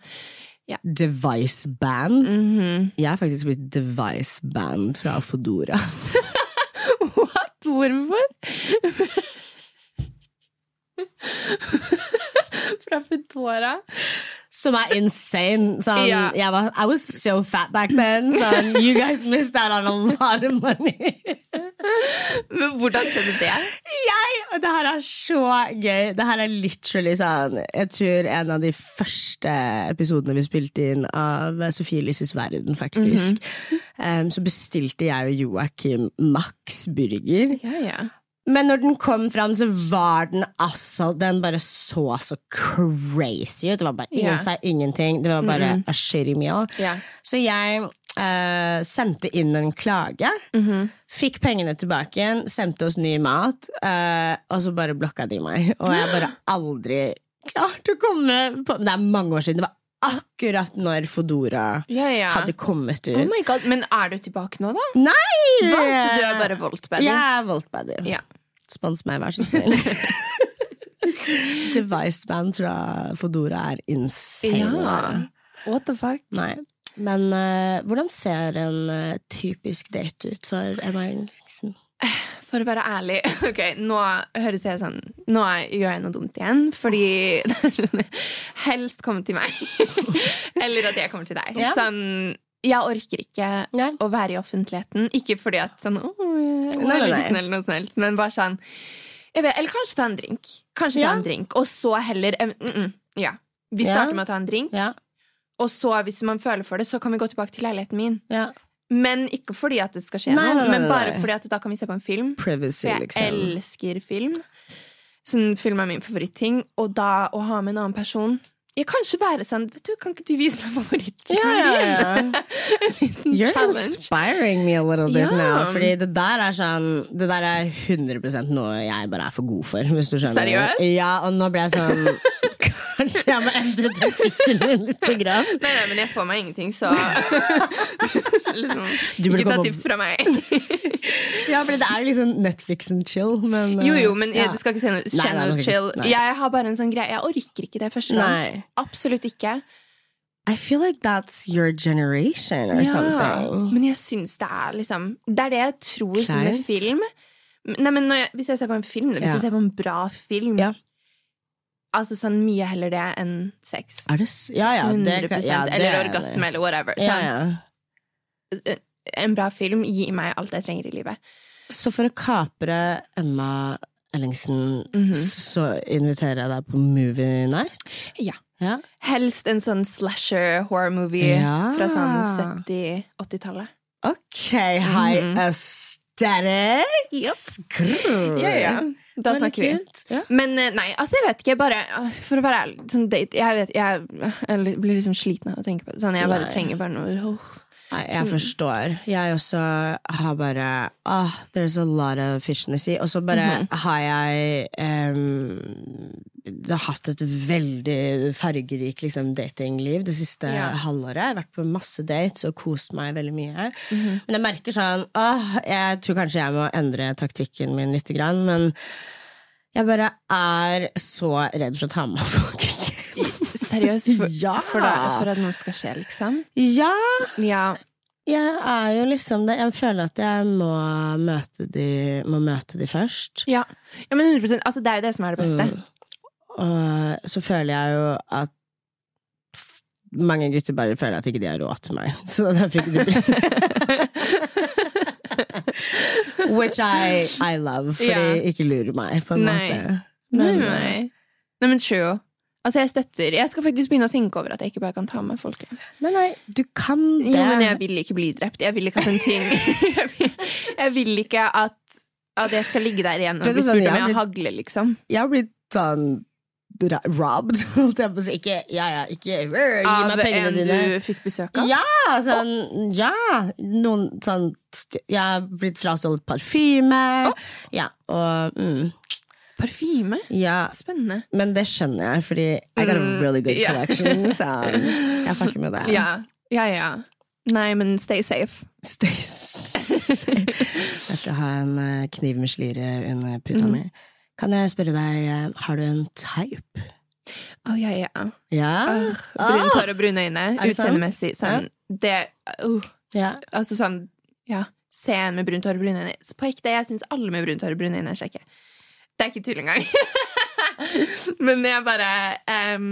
Device band. Jeg er faktisk blitt device band fra Fodora. (laughs) What? Hvorfor? Fra Foodora. Som er insane. Sånn, Ja. jeg var, I was so fat back then. Sånn, you guys missed out on a lot of money. Men hvordan skjedde det? jeg, og det her er så gøy. Det her er literally sånn Jeg tror en av de første episodene vi spilte inn av Sofie Elises verden, faktisk, em, så bestilte jeg og Joakim Max burger. Ja, ja. Men når den kom fram, så var den altså Den bare så så crazy ut. Det var bare ingen Ja. sa ingenting. Det var bare a shitty meal. Ja. Så jeg eh, sendte inn en klage. Mm-hmm. Fikk pengene tilbake igjen, sendte oss ny mat, eh, og så bare blokka de meg. Og jeg (gasps) bare aldri klarte å komme på Det er mange år siden. Det var akkurat når Fodora ja, ja. hadde kommet ut. Oh my god, Men er du tilbake nå, da? Nei! Hva? Så du er bare voldt-baby? Jeg er Voltbaddy. Ja. Spons meg, vær så (laughs) snill. Devised band fra Fodora er insane. å være. What the fuck? Nei. Men eh, hvordan ser en eh, typisk date ut for Emma Henriksen? For å være ærlig (laughs) Ok, nå høres jeg sånn Nå er- gjør jeg noe dumt igjen, fordi (laughs) Helst kom (laughs) til meg. Eller at jeg kommer til deg. Ja. Sånn jeg orker ikke Nei. å være i offentligheten. Ikke fordi at sånn Å, Nei, jeg nei, er nei. litt snill, eller noe som helst, men bare sånn jeg vet, Eller kanskje ta en drink. Kanskje Ja. ta en drink, og så heller eh, mm, mm, Ja. Vi Ja. starter med å ta en drink, Ja, og så, hvis man føler for det, så kan vi gå tilbake til leiligheten min. ja. Men ikke fordi at det skal skje Nei, nei, noe, nei, men nei, bare nei. fordi at da kan vi se på en film. Privacy, For jeg liksom. elsker film. Sånn, film er min favoritting. Og da å ha med en annen person Jeg kan ikke være sånn Vet du, Kan ikke du vise meg favoritten? Ja, ja, ja. En liten (laughs) You're challenge. inspiring me a little bit Ja. now. Fordi det der er sånn Det der er 100 noe jeg bare er for god for. Hvis du skjønner Seriøst? Ja, og nå ble jeg sånn (laughs) Kanskje jeg må endre taktikken min lite grann. Nei, nei, men jeg får meg ingenting, (laughs) så liksom, Du burde Ikke ta komme- tips fra meg. Ja, fordi det er jo liksom Netflix and chill, men (laughs) eh, Jo, jo, men jeg, ja. det skal ikke se noe, Nei, skje nei, noe nei, chill. nei. Jeg har bare en sånn greie. Jeg orker ikke det første gang. Nei. Absolutt ikke. I feel like that's your generation or something. Men jeg syns det er liksom Det er det jeg tror som med Kleint. film. Nei, men når jeg, Hvis jeg ser på en film, hvis Ja. jeg ser på en bra film Ja. Altså sånn mye heller det enn sex. Er det s ja, ja, 100 det, kan- ja, det Eller er det. orgasme, eller whatever. Ja, Sånn, ja. En bra film gir meg alt jeg trenger i livet. Så for å kapre Emma Ellingsen, Mhm. så inviterer jeg deg på movie night. Ja. Ja. Helst en sånn slasher horror movie Ja. fra sånn 70-80-tallet. Ok, high Mhm. aesthetics! Skrrr. Ja, ja. Da Veldig snakker vi. kult. Ja. Men eh, nei, altså jeg vet ikke. Bare, eh, for å være ærlig sånn date, jeg, vet, jeg, jeg blir liksom sliten av å tenke på det. Sånn, jeg bare Nei. trenger bare noe oh. åh. Nei, jeg forstår. Jeg også har bare ah, There's a lot of fish in the sea. Og så bare har jeg em, det har hatt et veldig fargerikt liksom, datingliv det siste Ja. halvåret. Jeg har vært på masse dates og kost meg veldig mye. Men jeg merker sånn åh, Jeg tror kanskje jeg må endre taktikken min litt, grann, men jeg bare er så redd for å ta med (laughs) meg folk. Seriøst, for, (laughs) Ja. for, da, for at noe skal skje, liksom. ja! Ja, Jeg er jo liksom det. Jeg føler at jeg må møte de, må møte de først. ja. ja men 100 altså, Det er jo det som er det beste. Mm. Og så føler jeg jo at f- mange gutter bare føler at ikke de har råd til meg. (laughs) Så derfor ikke de Which I, I love, fordi Ja. ikke lurer meg, på en Nei. måte. Nei, Men, nei. Mm. nei, men true. Altså, jeg støtter. Jeg skal faktisk begynne å tenke over at jeg ikke bare kan ta med folk. hjem. nei, nei, du kan det. Jo, men jeg vil ikke bli drept. Jeg vil ikke at en (laughs) ting Jeg vil, jeg vil ikke at, at jeg skal ligge der igjen Du og vet bli sånn, spurt jeg om har jeg blitt- hagler, liksom. Jeg har blitt sånn ra- robbed, (laughs) holdt jeg på å si. Ikke, ja ja, ikke rrr, gi Av meg pengene en dine. du fikk besøk av. Ja, sånn, ja noen, sånn, st- Jeg har blitt frastjålet parfyme. Ja, og mm, Parfyme? ja. Spennende. Men det skjønner jeg, fordi I got a really good ja. collection. Så jeg fucker med det. Ja, ja, ja. Nei, men stay safe. Stace. jeg skal ha en eh, kniv med slire under puta mi. Kan jeg spørre deg, eh, har du en type? Å, ja, ja. Ja? Ah, Ah, Brunt hår og brune øyne. Er det sant? Utseendemessig. Sånn, det uh, ja. Altså sånn, ja. Se en med brunt hår og brune øyne. Så På ekte, jeg syns alle med brunt hår og brune øyne er kjekke. Det er ikke tull engang. (laughs) Men jeg bare em,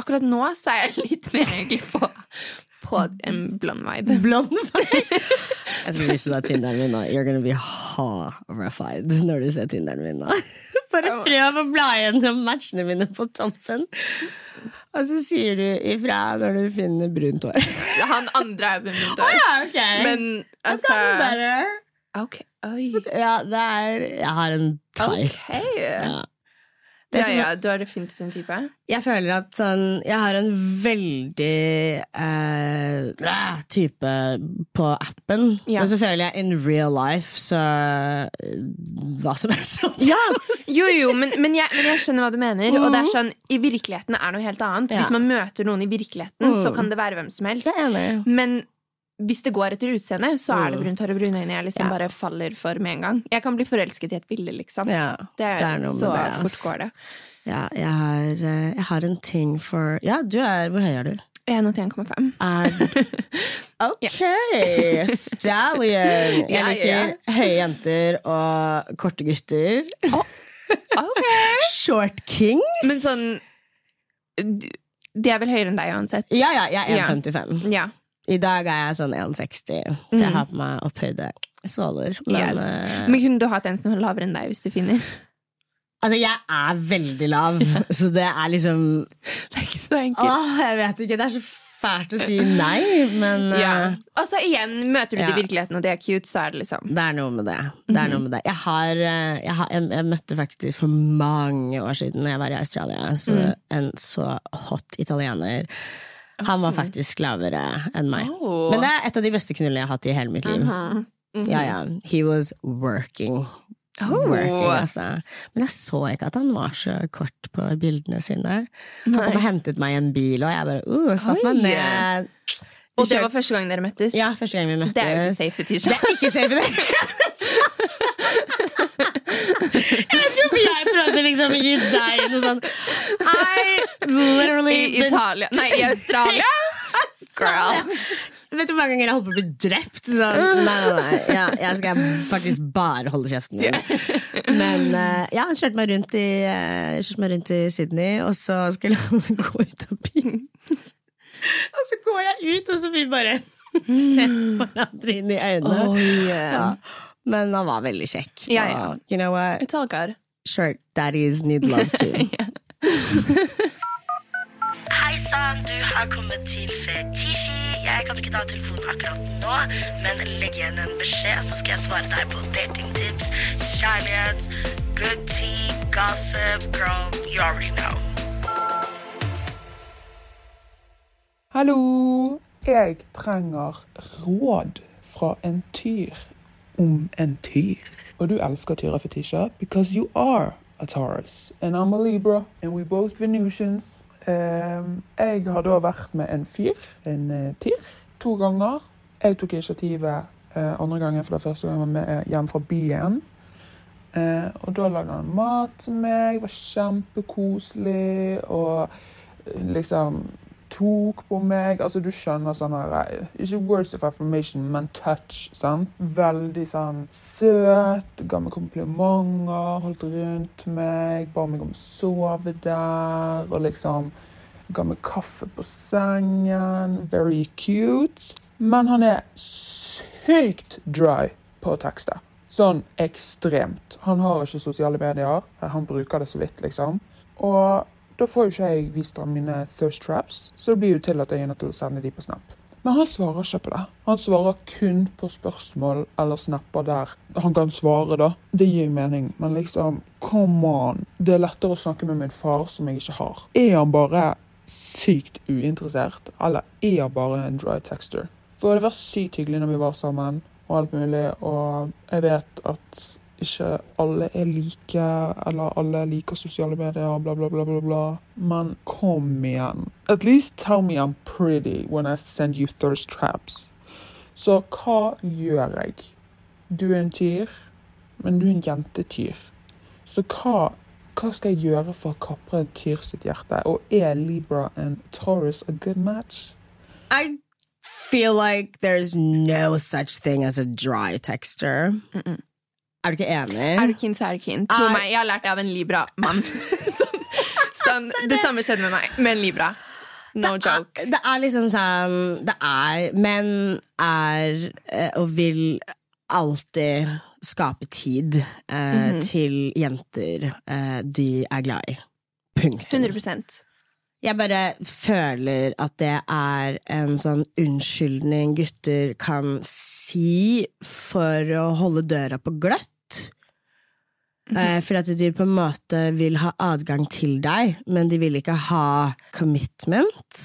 Akkurat nå så er jeg litt mer egentlig på, på en blond vibe. Blond farge? Jeg skal vise deg Tinderen min nå. You're gonna be horrified når du ser Tinderen min nå. (laughs) Bare prøv å bla gjennom matchene mine på toppen, og så sier du ifra når du finner brunt hår. (laughs) Han andre er med brunt hår. Ja, ok. Men I've altså gotten better. Ok. Oi. Ja, det er Jeg har en type. Ok. Ja. Det Ja, som- ja, du har definitivt en type. Jeg føler at sånn Jeg har en veldig eh, blæ, type på appen, Ja. men så føler jeg in real life, så eh, hva som helst. Jo, jo, men, men, jeg, men jeg skjønner hva du mener. Og det er sånn, I virkeligheten er noe helt annet. Ja. Hvis man møter noen i virkeligheten, så kan det være hvem som helst. Jeg er enig. Men hvis det går etter utseende, så er det brunt hår og brune øyne jeg liksom Ja. bare faller for med en gang. Jeg kan bli forelsket i et bilde, liksom. Ja, Det er, noe med så det, ass. fort går det. Ja, jeg, har, eh, jeg har en ting for Ja, du er Hvor høy er du? 1,81,5. (laughs) Er Ok! Stallion! Jeg Ja, liker ja. høye jenter og korte gutter. Ok! Short kings! (laughs) Men sånn d- De er vel høyere enn deg uansett. Ja, ja, jeg er Ja. 1,55. Ja. I dag er jeg sånn 1,60, for jeg har på meg opphøyde svåler. Men, yes. eh, Men kunne du hatt en som var lavere enn deg, hvis du finner? (laughs) altså, jeg er veldig lav, så det er liksom Det er ikke så enkelt. Åh, jeg vet ikke. Det er så fælt å si nei, men eh, Ja. Og så igjen, møter du det Ja. i virkeligheten, og det er cute, så er det liksom det er noe med det. det, er Mhm. noe med det. Jeg, har, eh, jeg, har, jeg, jeg møtte faktisk for mange år siden, da jeg var i Australia, så Mhm. en så hot italiener. Han var faktisk lavere enn meg. Oh. Men det er et av de beste knullene jeg har hatt i hele mitt liv. Mhm. Ja, ja. He was working. Working, altså. Men jeg så ikke at han var så kort på bildene sine. Han kom og hentet meg i en bil, og jeg bare uh, satt meg Oi. ned. Og det var første gang dere møttes? Ja, første gang vi møttes. Det er jo ikke safe i Det tirsdag. er ikke safe i det hele tatt! Jeg vet ikke hvorfor jeg prøvde liksom å gi deg noe sånn I literally I been Italia Nei, i (laughs) Australia! Girl. Vet du hvor mange ganger jeg holdt på å bli drept? Så nei, nei, nei. Ja, jeg skal faktisk bare holde kjeften min. Men eh, ja, han kjørte meg rundt i, eh, kjørte meg rundt i Sydney, og så skulle han (laughs) gå ut av bilen. Og så går jeg ut, og så vi bare ser hverandre inn i øynene. ja. Eh, Men han var veldig kjekk. Ja, ja. Og, you know what? It's all good. Short daddies need love (laughs) too. Hei sann, du har kommet til Fetisji. Jeg kan ikke ta telefonen akkurat nå, men legg igjen en beskjed, så skal jeg svare deg på datingtips, kjærlighet, good tea, gossip, girl, you already know. Hallo! Jeg trenger råd fra en tyr om en tyr. Og du elsker tyrefetisjer because you are a Taurus. And I'm a Libra, and we're both Venusians. Um, jeg har da vært med en fyr, en eh, tyr, to ganger. Jeg tok initiativet eh, andre gangen, for det første gang jeg var med hjem fra byen. Eh, og da lagde han mat til meg, var kjempekoselig og eh, liksom tok på meg. Altså, du skjønner sånn her eh, Ikke words of affirmation, men touch. sant? Veldig sånn søt, ga meg komplimenter, holdt rundt meg, ba meg om å sove der, og liksom ga meg kaffe på sengen. Very cute. Men han er sykt dry på tekster. Sånn ekstremt. Han har ikke sosiale medier. Han bruker det så vidt, liksom. Og da får jo ikke jeg vist ham mine thirst traps, så det blir jo til at jeg er nødt til å sende de på Snap. Men han svarer ikke på det. Han svarer kun på spørsmål eller snapper der han kan svare, da. Det gir jo mening, men liksom, come on. Det er lettere å snakke med min far, som jeg ikke har. Er han bare sykt uinteressert, eller er han bare en dry texter? For det var sykt hyggelig når vi var sammen, og alt mulig, og jeg vet at ikke alle er like, eller alle liker sosiale medier, og bla, bla, bla, bla, bla. Men kom igjen. At least tell me I'm pretty when I send you thirst traps. Så hva gjør jeg? Du er en tyr, men du er en jentetyr. Så hva, hva skal jeg gjøre for å kapre en tyr sitt hjerte? Og er Libra and Taurus a good match? I feel like there's no such thing as a dry texture. Er du ikke enig? Er du keen, så er du keen. Tro Er- meg, jeg har lært det av en Libra-mann. (laughs) sånn, sånn, det samme skjedde med meg, med en Libra. No joke. Det er liksom sånn Det er Menn er eh, og vil alltid skape tid eh, Mhm. til jenter eh, de er glad i. Punktum. 100 Jeg bare føler at det er en sånn unnskyldning gutter kan si for å holde døra på gløtt. Eh, for at de på en måte vil ha adgang til deg, men de vil ikke ha commitment.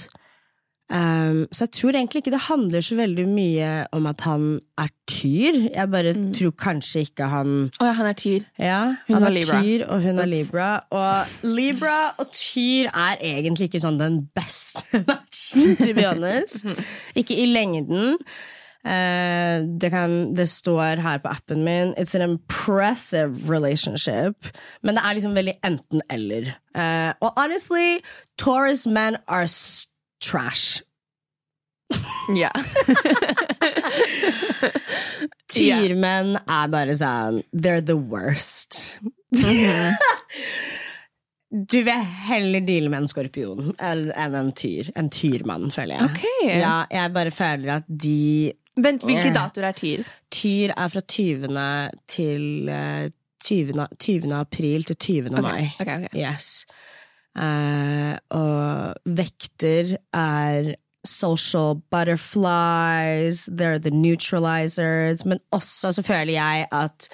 Um, så jeg tror egentlig ikke det handler så veldig mye om at han er tyr. Jeg bare tror kanskje ikke han Å ja, han er tyr. ja, Hun han var er Libra. tyr, og hun er Ups. Libra. Og Libra og tyr er egentlig ikke sånn den beste (laughs) matchen, to be (laughs) honest. Ikke i lengden. Eh, det, kan, det står her på appen min It's an impressive relationship. Men det er liksom veldig enten-eller. Eh, og honestly, Taurus men are s- trash. (laughs) Ja. Tyrmenn er bare sånn They're the worst. Mhm. du vil heller deale med en skorpion enn enn en tyr. En tyrmann, føler jeg. Ok. Ja, jeg bare føler at de Vent, hvilke datoer er tyr? Tyr er fra 20. til eh, 20. 20. april til 20. mai. Ok, ok. Yes. Eh, og vekter er social butterflies, they're the neutralizers, men også så føler jeg at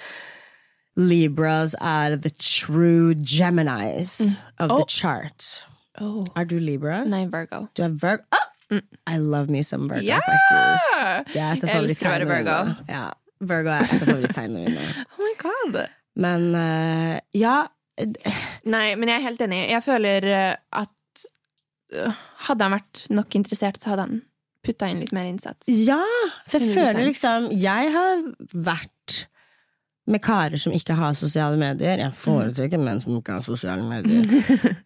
Libras er the true Geminis of the chart. Mm. Oh. Er du Libra? Nei, Virgo. Du er Virgo? Oh! I love me some Virgo, Ja! faktisk. Det er et av Jeg elsker å være favoritttegnene Virgo. mine. Ja, Virgo er et av favoritttegnene mine. Oh my god. Men eh, ja, Nei, men jeg er helt enig. Jeg føler eh, at øh, hadde han vært nok interessert, så hadde han putta inn litt mer innsats. Ja, for jeg 100%. føler liksom Jeg har vært med karer som ikke har sosiale medier. Jeg foretrekker menn som ikke har sosiale medier.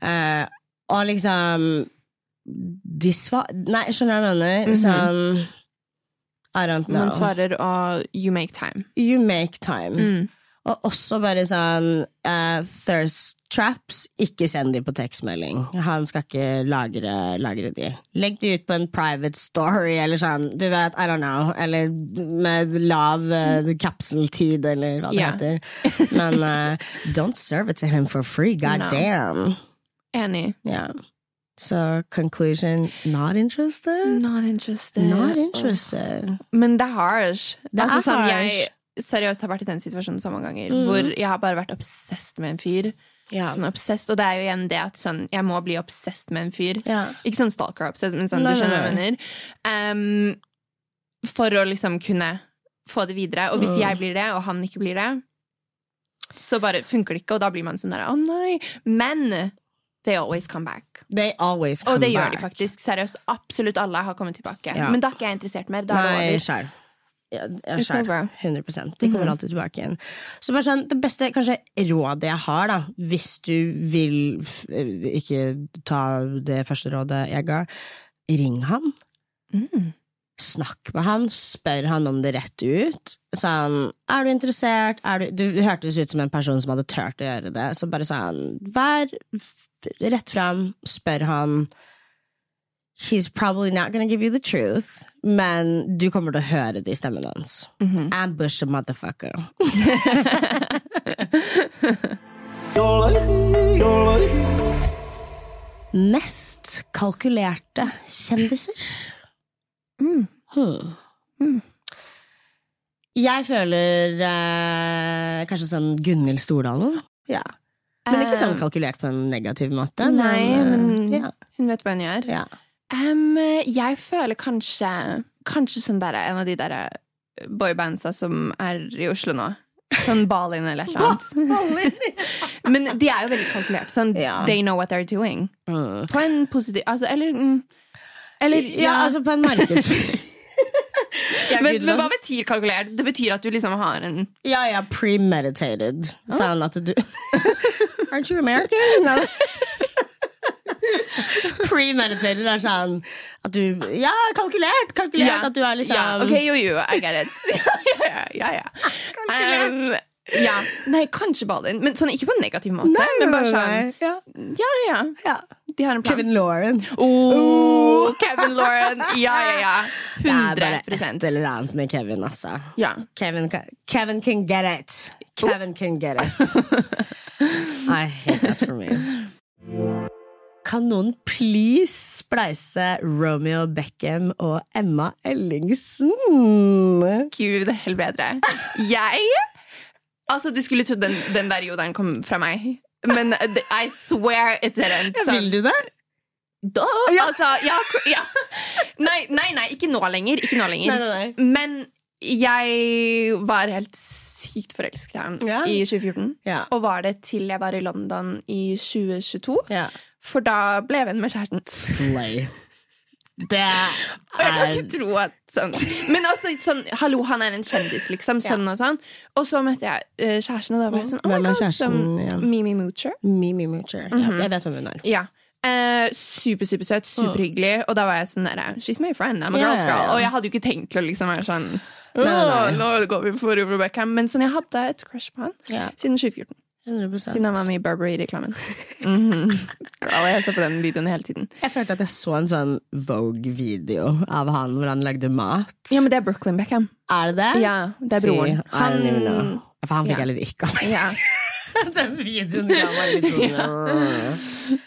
eh, og liksom De svar... Nei, skjønner du hva jeg mener? Sånn I don't know. Man svarer og you make time. You make time. Mm. Og også bare sånn eh, Thirst traps, ikke send de på tekstmelding. Han skal ikke lagre, lagre de. Legg de ut på en private story, eller sånn, du vet, I don't know. Eller med lav eh, kapseltid, eller hva det Ja. heter. Men eh, don't serve it to him for free, god No. damn. Enig. Yeah. So conclusion, not interested? Not interested. Not interested. Men det er harsh. Det altså, er sånn, harsh. Mm. Jeg seriøst har vært i den situasjonen så mange ganger hvor jeg har bare vært obsessed med en fyr. Ja. Sånn obsessed, og det er jo igjen det at sånn, jeg må bli obsessed med en fyr. Ja. Ikke sånn stalker-obsessed, men sånn, Nei, du skjønner hva jeg nei, mener. Ehm, for å liksom kunne få det videre. Og hvis jeg blir det, og han ikke blir det, så bare funker det ikke, og da blir man sånn der, å nei. Men they always come back. They always come Og det gjør back. de faktisk. Seriøst. Absolutt alle har kommet tilbake. Ja. Men da er ikke jeg interessert mer. Da er det Nei, over. sjæl. Ja, jeg er It's sjæl. over. 100 De kommer alltid tilbake igjen. Så bare sånn, Det beste kanskje rådet jeg har, da, hvis du vil f eh, ikke ta det første rådet jeg ga, ring han. Snakk med han, spør han om det rett ut. Sånn, er du interessert? Er du, du hørtes ut som en person som hadde turt å gjøre det. Så bare sånn, vær f- rett fram, spør han he's probably not gonna give you the truth, men du kommer til å høre det i stemmen hans. Mhm. Ambush a motherfucker. Mest kalkulerte kjendiser. Mm. Hmm. Jeg føler eh, kanskje sånn Gunhild Stordalen. Ja. Men ikke sånn kalkulert på en negativ måte. Eh. Nei, men eh, ja, hun vet hva hun gjør. ja. Em, jeg føler kanskje Kanskje sånn der, en av de der boybandsa som eh, er i Oslo nå. Sånn Balin eller et eller annet. (laughs) Men de er jo veldig kalkulert. Sånn, Ja. They know what they're doing. På en positiv altså, Eller, mm, eller Ja, altså på en altså. markedsføring. Jeg (laughs) kunne men, men også- hva betyr kalkulert? Det betyr at du liksom har en Ja, ja, premeditated. Sa han at du (laughs) Aren't you American? Nei. (laughs) premeditated er sånn at du Ja, kalkulert! Kalkulert Ja. at du er liksom ja, Ok, jo, jo, I get (laughs) it. ja, ja, ja, ja. Um, ja. Nei, kanskje Balin. Men sånn, ikke på en negativ måte. men bare sånn ja. Ja, ja. De har en plan. Kevin Lauren. Oh, Kevin (laughs) Lauren. Ja, ja, ja. Det er bare 100 et eller annet med Kevin, altså. Ja. Kevin, ka- Kevin can get it. Kevin can get (laughs) it. I hate that for me. Kan noen please spleise Romeo Beckham og Emma Ellingsen? Gud, det er helt bedre. Jeg Altså, du skulle trodd den, den der jodelen kom fra meg. Men det- I swear it didn't. Vil du det? da? Altså, ja, k- ja. Nei, nei, nei, ikke nå lenger. Ikke nå lenger. Nei, nei, nei. Men jeg var helt sykt forelsket i ham Ja. i 2014. Ja. Og var det til jeg var i London i 2022. Ja. For da ble jeg venn med kjæresten. Slay. Det Og jeg kan er ikke tro at sånn Men altså, sånn, hallo, han er en kjendis, liksom. Sånn og sånn. Og så møtte jeg eh, kjæresten, og da var jeg sånn oh my Hvem er God, kjæresten sånn, igjen? Mm. Mimi Moocher. Mimi Moocher. Ja, jeg vet hvem hun er. Ja. Eh, super, supersøt, superhyggelig. Og da var jeg sånn der, She's my friend. I'm a Ja, ja, girl's girl. ja. Og jeg hadde jo ikke tenkt til å liksom være sånn Nei, «Åh, Nå går vi for Romeo Beckham. Men sånn, jeg hadde et crush på han Ja. siden 2014. 100%. Siden han var med i (laughs) Burberry-reklamen. Mhm. Girl, jeg så på den videoen hele tiden. Jeg følte at jeg så en sånn Vogue-video av han hvor han lagde mat. Ja, men det er Brooklyn Beckham. Er det det? Ja, det er broren. Han, I don't even Han- know. For han fikk Ja. jeg litt ikke av. (laughs) Ja. Den videoen ga meg litt sånn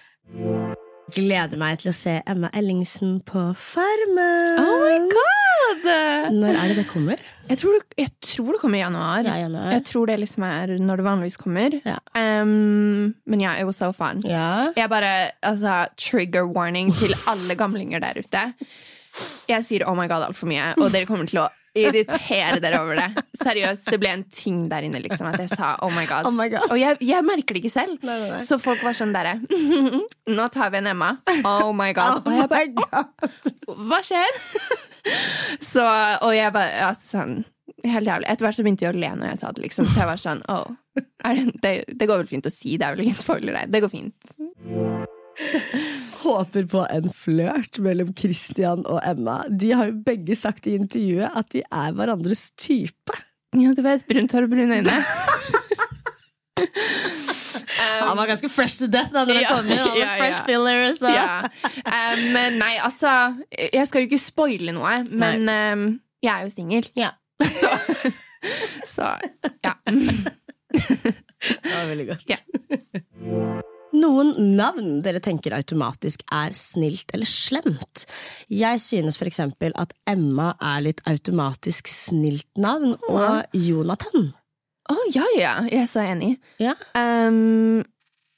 (laughs) Gleder meg til å se Emma Ellingsen på Farmen. Oh my god! Når er det det kommer? Jeg tror, det- jeg tror det kommer i januar. Ja, januar. Jeg tror det liksom er når det vanligvis kommer. Ja. Um, men ja, it was so fun. Ja. Jeg bare, altså, trigger warning til alle gamlinger der ute. Jeg sier oh my god altfor mye, og dere kommer til å irritere dere over det. Seriøst, det ble en ting der inne, liksom, at jeg sa oh my god. Oh my God. Og jeg, jeg merker det ikke selv. Nei, nei, nei. Så folk var sånn derre (laughs) Nå tar vi en Emma. Oh (laughs) my god. Og jeg bare, hva skjer? (laughs) så, og jeg bare, altså sånn, helt jævlig. Etter hvert så begynte jeg å le når jeg sa det, liksom. Så jeg var sånn, åh, er det, det, det går vel fint å si, det er vel ingen spoiler der. Det går fint. Håper på en flørt mellom Christian og Emma. De har jo begge sagt i intervjuet at de er hverandres type. Ja, du vet, brunt hår og (laughs) brune øyne. Han var ganske fresh to death da når han Ja. kom (laughs) inn. Han Ja, var ja. fresh filler, så. ja. Um, men nei, altså, jeg skal jo ikke spoile noe, men um, jeg er jo singel. Ja. Så, så, (laughs) ja. Det var veldig godt. Ja. (laughs) Noen navn dere tenker automatisk er snilt eller slemt. Jeg synes for eksempel at Emma er litt automatisk snilt navn, og Jonathan. Å, ja, ja, jeg er så enig. Ja. Um,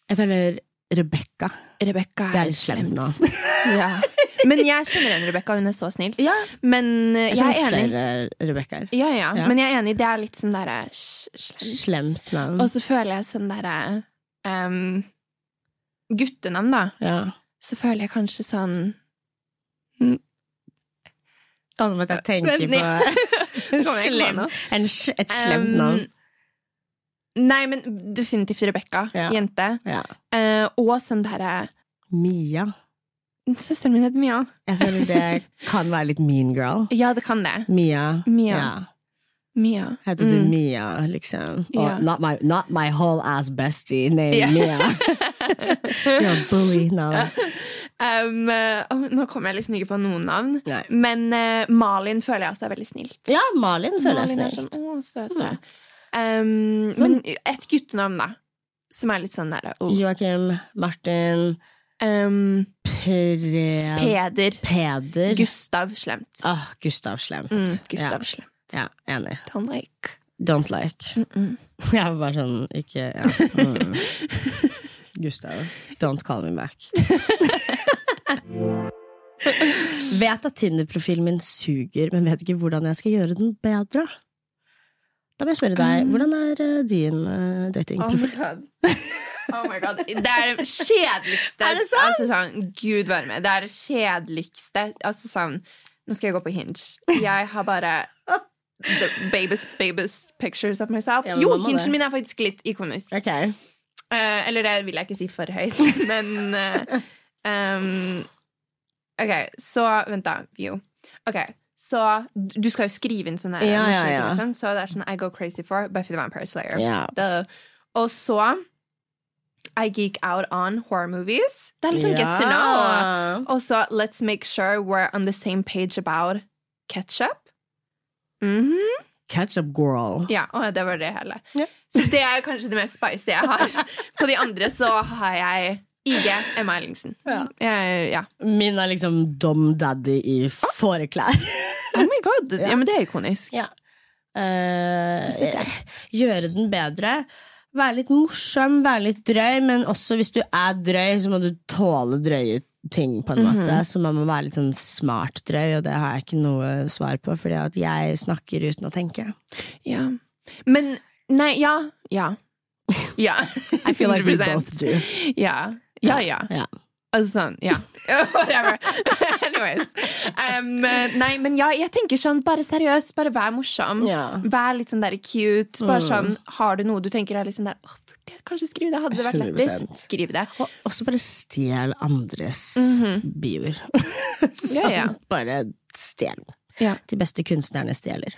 Jeg føler Rebekka. Rebekka Det er litt slemt nå. (laughs) ja. Men jeg kjenner en Rebekka, hun er så snill. Ja, Men eh, jeg, jeg er kjenner enig. flere Rebekkaer. Ja, ja. Ja. Men jeg er enig, det er litt sånn derre sj- slemt. Slemt navn. Og så føler jeg sånn derre em, Guttenavn, da. Ja. Så føler jeg kanskje sånn Å, nå måtte jeg tenke Vent, ja. (laughs) på Nå Um, kommer jeg ikke på slem, noe. en, sj- et slemt em, navn. Nei, men definitivt Rebekka. Ja. Jente. Ja. Eh, og sånn derre Mia. Søsteren min heter Mia. Jeg føler det kan være litt mean (laughs) girl. Ja, det kan det. Mia. Mia. Ja. Mia. Heter du Mm. Mia, liksom? Og Ja. not, my, not my whole ass bestie named Ja. (laughs) (laughs) Mia. You're a bully now. Um, eh, åh, nå kommer jeg liksom ikke på noen navn. Nei. Men eh, Malin føler jeg også er veldig snill. Ja, Malin føler jeg Malin snill. er sånn, å, søte. Um, Sånn. men et guttenavn, da. Som er litt sånn der oh. Joakim, Martin, um, Pre... Peder. Peder. Gustav. Slemt. Åh, Gustav Slemt. Mm, Gustav Slemt. Ja, ja, enig. Han like. Don't like. (laughs) Jeg var bare sånn ikke ja. mm. (laughs) Gustav, don't call me (laughs) back. vet at Tinder-profilen min suger, men vet ikke hvordan jeg skal gjøre den bedre. Da må jeg spørre deg, hvordan er eh, din eh, Oh my datingprofil? god. Oh my god. Det er det (laughs) kjedeligste Er det sant? Altså, sånn, Gud varme. Det er det kjedeligste Altså sånn Nå skal jeg gå på Hinge. Jeg har bare the baby's, baby's pictures of myself. Ja, men jo, man må det. Hingen min er faktisk litt ikonisk. Ok, Eh, eller det vil jeg ikke si for høyt, (laughs) men eh, um, Ok, så Vent, da. View. Ok, så d- Du skal jo skrive inn sånne Ja, ja, emosjoner, ja. sånn, Så det er sånn I go crazy for Buffy the Vampire Slayer. Ja. Duh. Og så I geek out on horror movies. Det er litt sånn get to know. Og så Let's make sure we're on the same page about ketchup. Mhm. Ketchup girl. Ja, og det var det hele. Ja. Så det er kanskje det mest spicy jeg har. På de andre så har jeg IG Emma Ellingsen. Ja. ja. Min er liksom dom daddy i fåreklær. Oh my god! Ja, men det er ikonisk. Ja. Eh, (laughs) gjøre den bedre. Være litt morsom, være litt drøy, men også hvis du er drøy, så må du tåle drøye ting. på en måte Så man må være litt sånn smart drøy, og det har jeg ikke noe svar på, fordi at jeg snakker uten å tenke. Ja. Men Nei, ja. Ja. Ja. (laughs) I feel like we 100%. both do. Ja. Ja, ja. Ja. Altså sånn, ja. (laughs) Whatever. (laughs) Anyways. Um, nei, men ja, jeg tenker sånn, bare seriøst, bare vær morsom. Ja. Mm. Vær litt sånn der cute. Bare sånn, har du noe du tenker er litt sånn der, åh, burde jeg kanskje skrive det? Hadde det vært lettest? 100%. Skriv det. Og også bare stjel andres (laughs) bioer. Sånn, Ja, ja. bare stjel. Ja. De beste kunstnerne stjeler.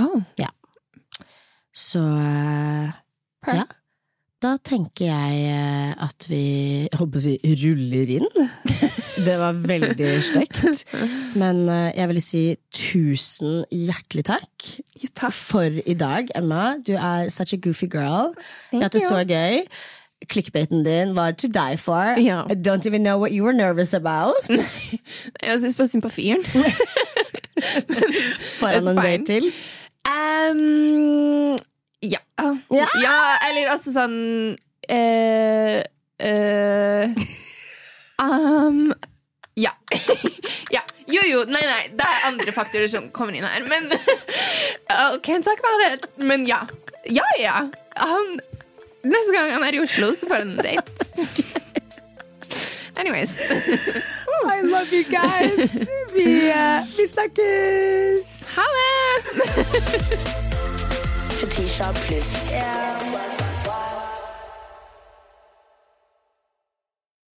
Oh, Så eh, Per. ja. Da tenker jeg eh, at vi jeg håper å si ruller inn. (laughs) Det var veldig stygt. Men eh, jeg ville si tusen hjertelig takk for i dag, Emma. Du er such a goofy girl. Jeg hadde det så gøy. Clickbaiten din var to die for. Ja. I don't even know what you were nervous (laughs) about. jeg synes bare synd på fyren. Foran That's en fine. date til. Um, ja. Ja! eller altså sånn eh, eh, um, Ja. (laughs) ja. Jo, jo. Nei, nei. Det er andre faktorer som kommer inn her. Men (laughs) uh, Can't talk about it. Men ja. Ja, ja. Um, neste gang han er i Oslo, så får han en date. Anyways. I love you (laughs) guys. Vi, eh, vi snakkes! Ha det! Fetisha pluss. Yeah.